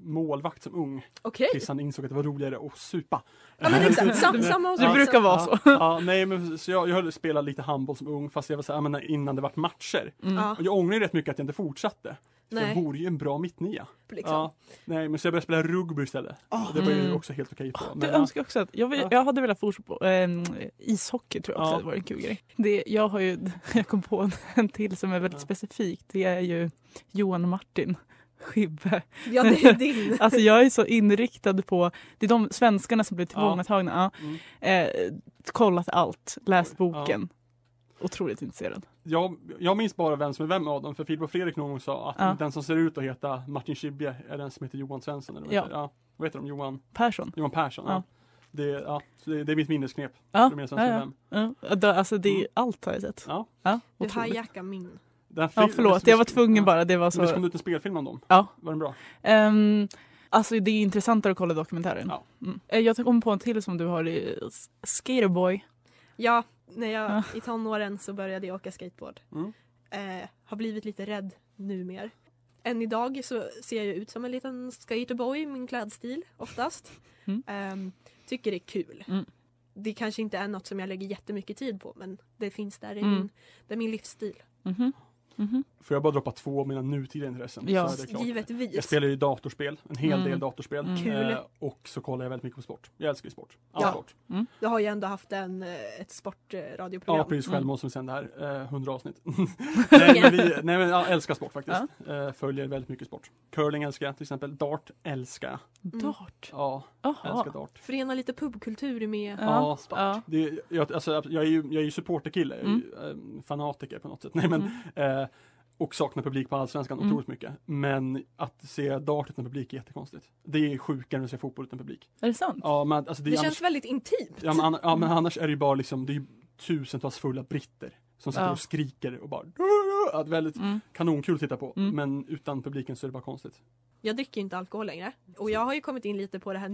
Speaker 3: målvakt som ung
Speaker 2: okej.
Speaker 3: tills han insåg att det var roligare att supa.
Speaker 2: Ja men exakt, Sam, samma hos
Speaker 4: Det
Speaker 2: oss.
Speaker 4: [laughs] brukar vara
Speaker 3: Ja.
Speaker 4: så.
Speaker 3: ja, nej men så jag, jag höll spela lite handboll som ung fast jag var så här, jag menar, innan det vart matcher.
Speaker 4: Mm.
Speaker 2: Ja,
Speaker 3: Och jag ångrar ju rätt mycket att jag inte fortsatte. För
Speaker 2: Nej.
Speaker 3: Jag vore ju en bra mittnia.
Speaker 2: liksom.
Speaker 3: Ja, nej men så jag började spela rugby istället. Och det var ju
Speaker 4: Mm.
Speaker 3: också helt okej på.
Speaker 4: Du
Speaker 3: Men, ja.
Speaker 4: önskar också att, jag, vill,
Speaker 3: Ja.
Speaker 4: jag hade velat fortsätta ähm, ishockey tror jag också
Speaker 3: Ja.
Speaker 4: hade varit en kul grej. Det, jag har ju, [laughs] jag kom på en, en till som är väldigt
Speaker 3: Ja.
Speaker 4: specifik. Det är ju Johan Martin Skibbe.
Speaker 2: [laughs] ja det är din.
Speaker 4: Alltså jag är så inriktad på, det är de svenskarna som blir tillfångatagna. Ja.
Speaker 3: Mm.
Speaker 4: Eh, kollat allt, läst
Speaker 3: Oj, ja.
Speaker 4: boken. Otroligt intresserad.
Speaker 3: jag, jag minns bara vem som är vem av dem för Filip och Fredrik någon gång sa att
Speaker 4: Ja.
Speaker 3: den som ser ut att heta Martin Schibbye är den som heter Johan Svensson. Eller vad,
Speaker 4: Ja.
Speaker 3: heter, ja. vad heter de? Johan,
Speaker 4: Persson.
Speaker 3: Johan Persson? Ja.
Speaker 4: Ja.
Speaker 3: Det, ja, så det, det är mitt minnesknep.
Speaker 4: Ja,
Speaker 3: De är svenska
Speaker 4: ja, ja.
Speaker 3: vem.
Speaker 4: ja. då- Alltså det är
Speaker 3: Mm.
Speaker 4: allt har jag sett.
Speaker 3: Ja.
Speaker 4: Ja,
Speaker 2: Du
Speaker 4: otroligt.
Speaker 2: hijackar min.
Speaker 3: Den
Speaker 4: ja
Speaker 3: fil-
Speaker 4: förlåt,
Speaker 3: det-
Speaker 4: jag var tvungen bara. Det var
Speaker 3: Det kom
Speaker 4: så...
Speaker 3: det ut en spelfilm om dem.
Speaker 4: Ja.
Speaker 3: Var den bra?
Speaker 4: Ehm, alltså det är intressantare att kolla dokumentären.
Speaker 3: Ja.
Speaker 4: Mm. Eh, Jag kom på en till som du har i S- Skaterboy.
Speaker 2: Ja, när jag
Speaker 4: Ja.
Speaker 2: i tonåren så började jag åka skateboard.
Speaker 3: Mm.
Speaker 2: Eh, har blivit lite rädd numer. Än idag så ser jag ut som en liten skaterboy i min klädstil oftast.
Speaker 4: Mm.
Speaker 2: Ehm, tycker det är kul.
Speaker 4: Mm.
Speaker 2: Det kanske inte är något som jag lägger jättemycket tid på men det finns där i
Speaker 4: Mm.
Speaker 2: min, det är min livsstil.
Speaker 4: Mhm. Mhm.
Speaker 3: Får jag bara droppa två av mina nutida intressen?
Speaker 4: Ja.
Speaker 3: så är det klart.
Speaker 2: Givetvis.
Speaker 3: Jag spelar ju datorspel, en hel
Speaker 4: Mm.
Speaker 3: del datorspel.
Speaker 4: Mm.
Speaker 2: Kul.
Speaker 3: Eh, och så kollar jag väldigt mycket på sport. Jag älskar ju sport. All
Speaker 2: Ja.
Speaker 3: sport.
Speaker 2: Du har ju ändå haft en, eh, ett
Speaker 3: Ja,
Speaker 2: sportradioprogram.
Speaker 3: precis.
Speaker 4: Mm.
Speaker 3: Självmål som sände här. Eh, 100 avsnitt. [laughs] nej, men vi, nej, men jag älskar sport faktiskt. Eh, följer väldigt mycket sport. Curling älskar jag till exempel. Dart älskar jag.
Speaker 2: Mm.
Speaker 4: Dart.
Speaker 3: Ja,
Speaker 4: Jaha.
Speaker 3: älskar dart.
Speaker 2: Förena lite pubkultur med...
Speaker 3: Ja,
Speaker 4: Ja.
Speaker 3: sport.
Speaker 4: Ja.
Speaker 3: Det, är- jag, alltså, jag är ju, jag är ju supporterkille, jag är ju, eh, fanatiker på något sätt. [laughs] Nej, men, eh, och saknar publik på Allsvenskan
Speaker 4: Mm.
Speaker 3: otroligt mycket. Men att se dart utan publik är jättekonstigt. Det är sjukare än att se fotboll utan publik.
Speaker 4: Är det sant?
Speaker 3: Ja, men, alltså, det
Speaker 2: Det
Speaker 3: är annars,
Speaker 2: känns väldigt intimt.
Speaker 3: ja, men, anna- ja, men annars är det ju bara liksom, det är ju tusentals fulla britter som sitter
Speaker 4: Ja.
Speaker 3: och skriker och bara ja, det är väldigt
Speaker 4: Mm.
Speaker 3: kanonkul att titta på.
Speaker 4: Mm.
Speaker 3: Men utan publiken så är det bara konstigt.
Speaker 2: Jag dricker ju inte alkohol längre. Och jag har ju kommit in lite på det här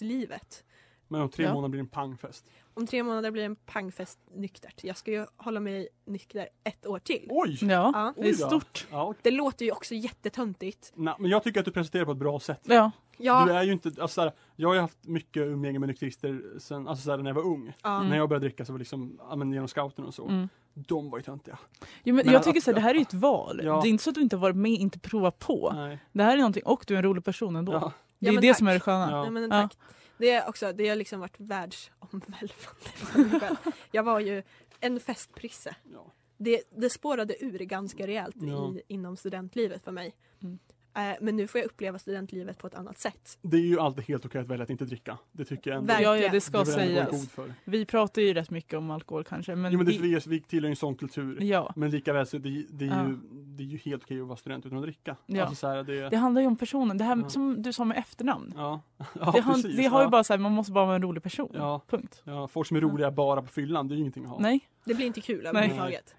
Speaker 2: nykterhetslivet.
Speaker 3: Men om tre
Speaker 4: Ja.
Speaker 3: månader blir det en pangfest.
Speaker 2: Om tre månader blir det en pangfest nyktert. Jag ska ju hålla mig nykter ett år till.
Speaker 3: Oj!
Speaker 4: Ja,
Speaker 2: Ja.
Speaker 4: det är
Speaker 3: Oj då.
Speaker 4: stort.
Speaker 3: Ja,
Speaker 2: Det låter ju också jättetöntigt.
Speaker 3: nej, men jag tycker att du presenterar på ett bra sätt.
Speaker 4: Ja.
Speaker 3: Du
Speaker 2: Ja,
Speaker 3: är ju inte, alltså såhär, jag har ju haft mycket umgänge med nykterister sen, alltså såhär, när jag var ung.
Speaker 2: ja.
Speaker 3: När jag började dricka så var det liksom, ja men genom scouterna och så.
Speaker 4: Mm.
Speaker 3: De var ju töntiga.
Speaker 4: Jo, men
Speaker 3: Men
Speaker 4: jag
Speaker 3: att-
Speaker 4: tycker så här, det här är ju ett val.
Speaker 3: Ja.
Speaker 4: Det är inte så att du inte har varit med inte provat på.
Speaker 3: Nej.
Speaker 4: Det här är någonting och du är en rolig person ändå.
Speaker 3: Ja.
Speaker 4: Det
Speaker 2: Ja,
Speaker 4: är
Speaker 2: men
Speaker 4: det
Speaker 2: tack.
Speaker 4: som är det sköna.
Speaker 3: Ja.
Speaker 2: Nej, men
Speaker 4: Ja.
Speaker 2: tack. Det, är också, det har liksom varit världsomvälvande för mig själv. Jag var ju en festprisse.
Speaker 3: Ja.
Speaker 2: Det, det spårade ur ganska rejält
Speaker 3: Ja.
Speaker 2: i, inom studentlivet för mig.
Speaker 4: Mm.
Speaker 2: Eh, men nu får jag uppleva studentlivet på ett annat sätt.
Speaker 3: Det är ju alltid helt okej att välja att inte dricka. Det tycker jag ändå.
Speaker 2: Verkligen.
Speaker 4: Ja, ja, det ska
Speaker 3: det är väl ändå god
Speaker 4: sägas.
Speaker 3: för.
Speaker 4: Vi pratar ju rätt mycket om alkohol kanske. Men
Speaker 3: Jo men det,
Speaker 4: det,
Speaker 3: vi, vi tillhör ju en sån kultur.
Speaker 4: ja.
Speaker 3: Men likaväl så det, det, är, ju,
Speaker 4: Ja.
Speaker 3: det är ju helt okej att vara student utan att dricka.
Speaker 4: Ja.
Speaker 3: Alltså såhär, det,
Speaker 4: det handlar ju om personen. Det här
Speaker 3: Ja.
Speaker 4: som du sa med efternamn.
Speaker 3: ja. [laughs] ja
Speaker 4: det, har-
Speaker 3: precis.
Speaker 4: det har ju
Speaker 3: ja.
Speaker 4: bara så här, man måste bara vara en rolig person.
Speaker 3: Ja.
Speaker 4: Punkt.
Speaker 3: Ja, folk som är roliga bara på fyllan, det är ju ingenting att ha.
Speaker 4: Nej.
Speaker 2: Det blir inte kul överhuvudtaget.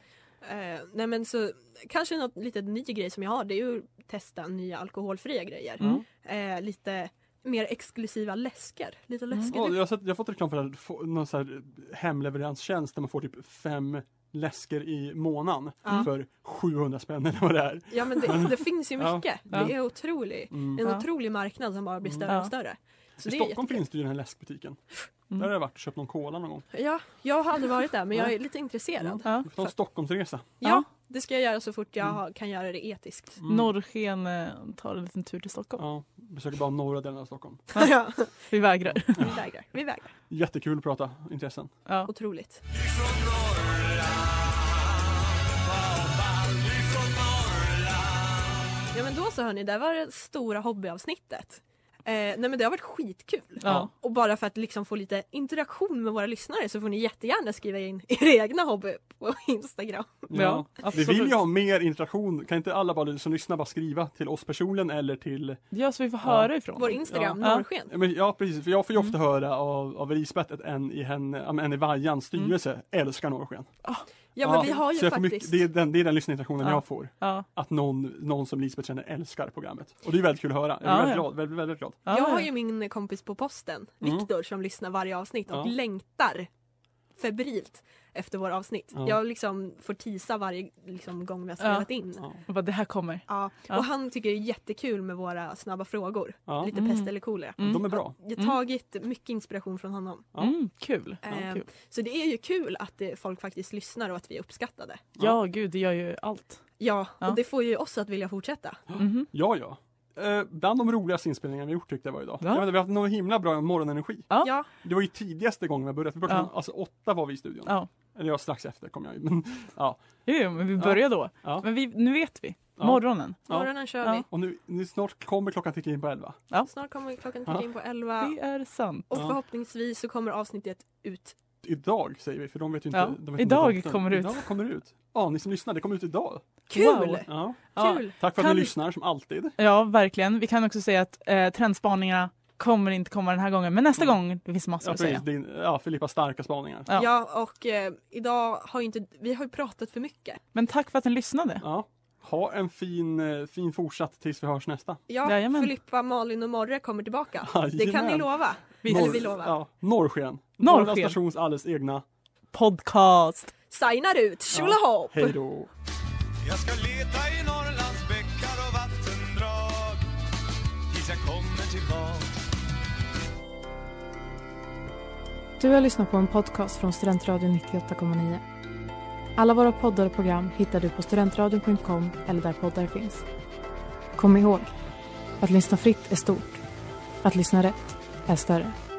Speaker 2: Nej. nej men så kanske något litet ny grej som jag har det är ju att testa nya alkoholfria grejer.
Speaker 3: Mm.
Speaker 2: Eh, lite mer exklusiva läsker. Lite
Speaker 4: Mm.
Speaker 2: läskigt.
Speaker 3: Ja, jag, har sett, jag har fått reklam för det här, få- någon så här hemleveranstjänst där man får typ fem läsker i månaden
Speaker 2: Ja.
Speaker 3: för 700 spänn eller vad det är.
Speaker 2: Ja men det, det finns ju
Speaker 3: Ja.
Speaker 2: mycket.
Speaker 4: Ja.
Speaker 2: Det är otroligt.
Speaker 3: Mm.
Speaker 2: En
Speaker 4: Ja.
Speaker 2: otrolig marknad som bara blir
Speaker 3: Mm.
Speaker 2: större och
Speaker 4: Ja.
Speaker 2: större.
Speaker 3: I
Speaker 2: Så det är
Speaker 3: Stockholm
Speaker 2: jättekul.
Speaker 3: finns det ju den här läskbutiken.
Speaker 4: Mm.
Speaker 3: Där har jag varit och köpt någon cola någon gång.
Speaker 2: Ja, jag har aldrig varit där men jag är lite intresserad.
Speaker 4: Ja.
Speaker 3: Vi får ta en Stockholmsresa.
Speaker 2: Ja, det ska jag göra så fort jag har- kan göra det etiskt.
Speaker 3: Mm.
Speaker 4: Norrsken eh, tar en liten tur till Stockholm.
Speaker 3: Ja, besöker bara norra delen av Stockholm.
Speaker 2: [laughs] Ja.
Speaker 4: Vi vägrar.
Speaker 2: Vi vägrar. Vi vägrar.
Speaker 3: Jättekul att prata intressen.
Speaker 4: Ja.
Speaker 2: Otroligt.
Speaker 1: Ifrån Norrland, vad ball, ifrån Norrland
Speaker 2: Ja men då så hörni, där var det stora hobbyavsnittet. Eh, nej men det har varit skitkul.
Speaker 4: Ja.
Speaker 2: Och bara för att liksom få lite interaktion med våra lyssnare så får ni jättegärna skriva in [laughs] era egna hobby på Instagram.
Speaker 4: Ja,
Speaker 3: Vi
Speaker 4: absolut.
Speaker 3: vill ju ha mer interaktion. Kan inte alla bara som lyssnar bara skriva till oss personligen eller till
Speaker 4: ja, så vi får höra ifrån.
Speaker 2: Vår Instagram,
Speaker 4: Ja.
Speaker 2: Norrsken.
Speaker 3: Ja, men, ja precis, för jag får ju
Speaker 4: Mm.
Speaker 3: ofta höra av, av Elisabeth att en i, henne, ja, men en i Vajans
Speaker 4: Mm.
Speaker 3: styrelse älskar norrsken.
Speaker 2: Ja men vi har ju
Speaker 3: så jag får
Speaker 2: faktiskt...
Speaker 3: mycket, det, är den, det är den lyssningsinteraktionen
Speaker 4: Ja.
Speaker 3: jag får.
Speaker 4: Ja.
Speaker 3: Att någon, någon som Lisbeth känner älskar programmet. Och det är väldigt kul att höra. Jag är
Speaker 4: Ja,
Speaker 3: väldigt,
Speaker 4: ja.
Speaker 3: glad, väldigt, väldigt glad.
Speaker 4: Ja,
Speaker 2: jag har
Speaker 4: ja.
Speaker 2: ju min kompis på posten,
Speaker 3: Mm.
Speaker 2: Viktor, som lyssnar varje avsnitt och
Speaker 3: Ja.
Speaker 2: längtar febrilt efter våra avsnitt.
Speaker 3: Ja.
Speaker 2: Jag liksom får tisa varje liksom, gång vi har spelat in. Ja.
Speaker 3: Ja.
Speaker 4: Jag bara, det här kommer. Ja.
Speaker 2: Och han tycker det är jättekul med våra snabba frågor.
Speaker 3: Ja.
Speaker 2: Lite
Speaker 4: Mm.
Speaker 2: pest eller kolera.
Speaker 4: Mm.
Speaker 3: De är bra.
Speaker 2: Jag har tagit mycket inspiration från honom.
Speaker 3: Ja.
Speaker 4: Mm, kul. Ja,
Speaker 2: Ehm,
Speaker 4: kul.
Speaker 2: Så det är ju kul att det, folk faktiskt lyssnar och att vi är uppskattade.
Speaker 4: ja, gud, det gör ju allt.
Speaker 2: Ja,
Speaker 4: Ja.
Speaker 2: och det får ju oss att vilja fortsätta.
Speaker 4: Mhm.
Speaker 3: Ja, ja. Eh, bland de roligaste inspelningarna vi gjort tyckte jag var idag.
Speaker 4: Ja.
Speaker 3: Jag vet, inte, vi har haft någon himla bra morgonenergi.
Speaker 4: Ja.
Speaker 2: Ja,
Speaker 3: Det var ju tidigaste gången vi började. Vi började
Speaker 4: Ja.
Speaker 3: från, alltså åtta var vi i studion.
Speaker 4: Ja.
Speaker 3: Eller jag strax efter kom jag ju. Men,
Speaker 4: Jo, jo, men vi börjar då.
Speaker 3: Ja.
Speaker 4: Men vi, nu vet vi.
Speaker 3: Ja.
Speaker 4: Morgonen.
Speaker 3: Ja.
Speaker 2: morgonen kör
Speaker 4: Ja.
Speaker 2: vi.
Speaker 3: och nu, nu snart kommer klockan ticka in på elva.
Speaker 2: Snart kommer klockan
Speaker 3: Ja.
Speaker 2: ticka in på 11
Speaker 4: Det är sant.
Speaker 2: och
Speaker 3: Ja.
Speaker 2: förhoppningsvis så kommer avsnittet ut
Speaker 3: Idag säger vi, för de vet ju inte.
Speaker 4: Ja.
Speaker 3: De vet
Speaker 4: Idag
Speaker 3: inte datum.
Speaker 4: kommer det ut.
Speaker 3: Idag kommer det ut. Ja, ni som lyssnar, det kommer ut idag.
Speaker 2: Kul!
Speaker 4: Wow.
Speaker 3: Ja.
Speaker 4: Ja.
Speaker 2: Kul!
Speaker 3: Tack för att
Speaker 4: Kan-
Speaker 3: ni lyssnar som alltid.
Speaker 4: Ja, verkligen. Vi kan också säga att eh, trendspaningarna kommer inte komma den här gången, men nästa gång det finns massor
Speaker 3: Ja,
Speaker 4: att
Speaker 3: precis.
Speaker 4: säga.
Speaker 3: Din, ja, Filippas starka spaningar.
Speaker 4: Ja.
Speaker 2: Ja, och eh, idag har ju inte, vi har ju pratat för mycket.
Speaker 4: Men tack för att ni lyssnade.
Speaker 3: Ja. Ha en fin, eh, fin fortsatt tills vi hörs nästa.
Speaker 2: Ja,
Speaker 4: Jajamän.
Speaker 2: Filippa, Malin och Morre kommer tillbaka. Det kan ni
Speaker 3: Jajamän.
Speaker 2: lova.
Speaker 4: Vi
Speaker 2: Eller vi lovar.
Speaker 3: Ja, Norrsken.
Speaker 4: Norrsken.
Speaker 3: Norra stations alldeles egna.
Speaker 4: podcast.
Speaker 2: Signar ut, tjolahopp!
Speaker 3: Hej då.
Speaker 1: Jag ska leta i Norrlands bäckar och vattendrag Tills jag kommer tillbaka
Speaker 7: Du har lyssnat på en podcast från Studentradion 98,9. Alla våra poddar och program hittar du på studentradion.com eller där poddar finns. Kom ihåg, att lyssna fritt är stort. Att lyssna rätt är större.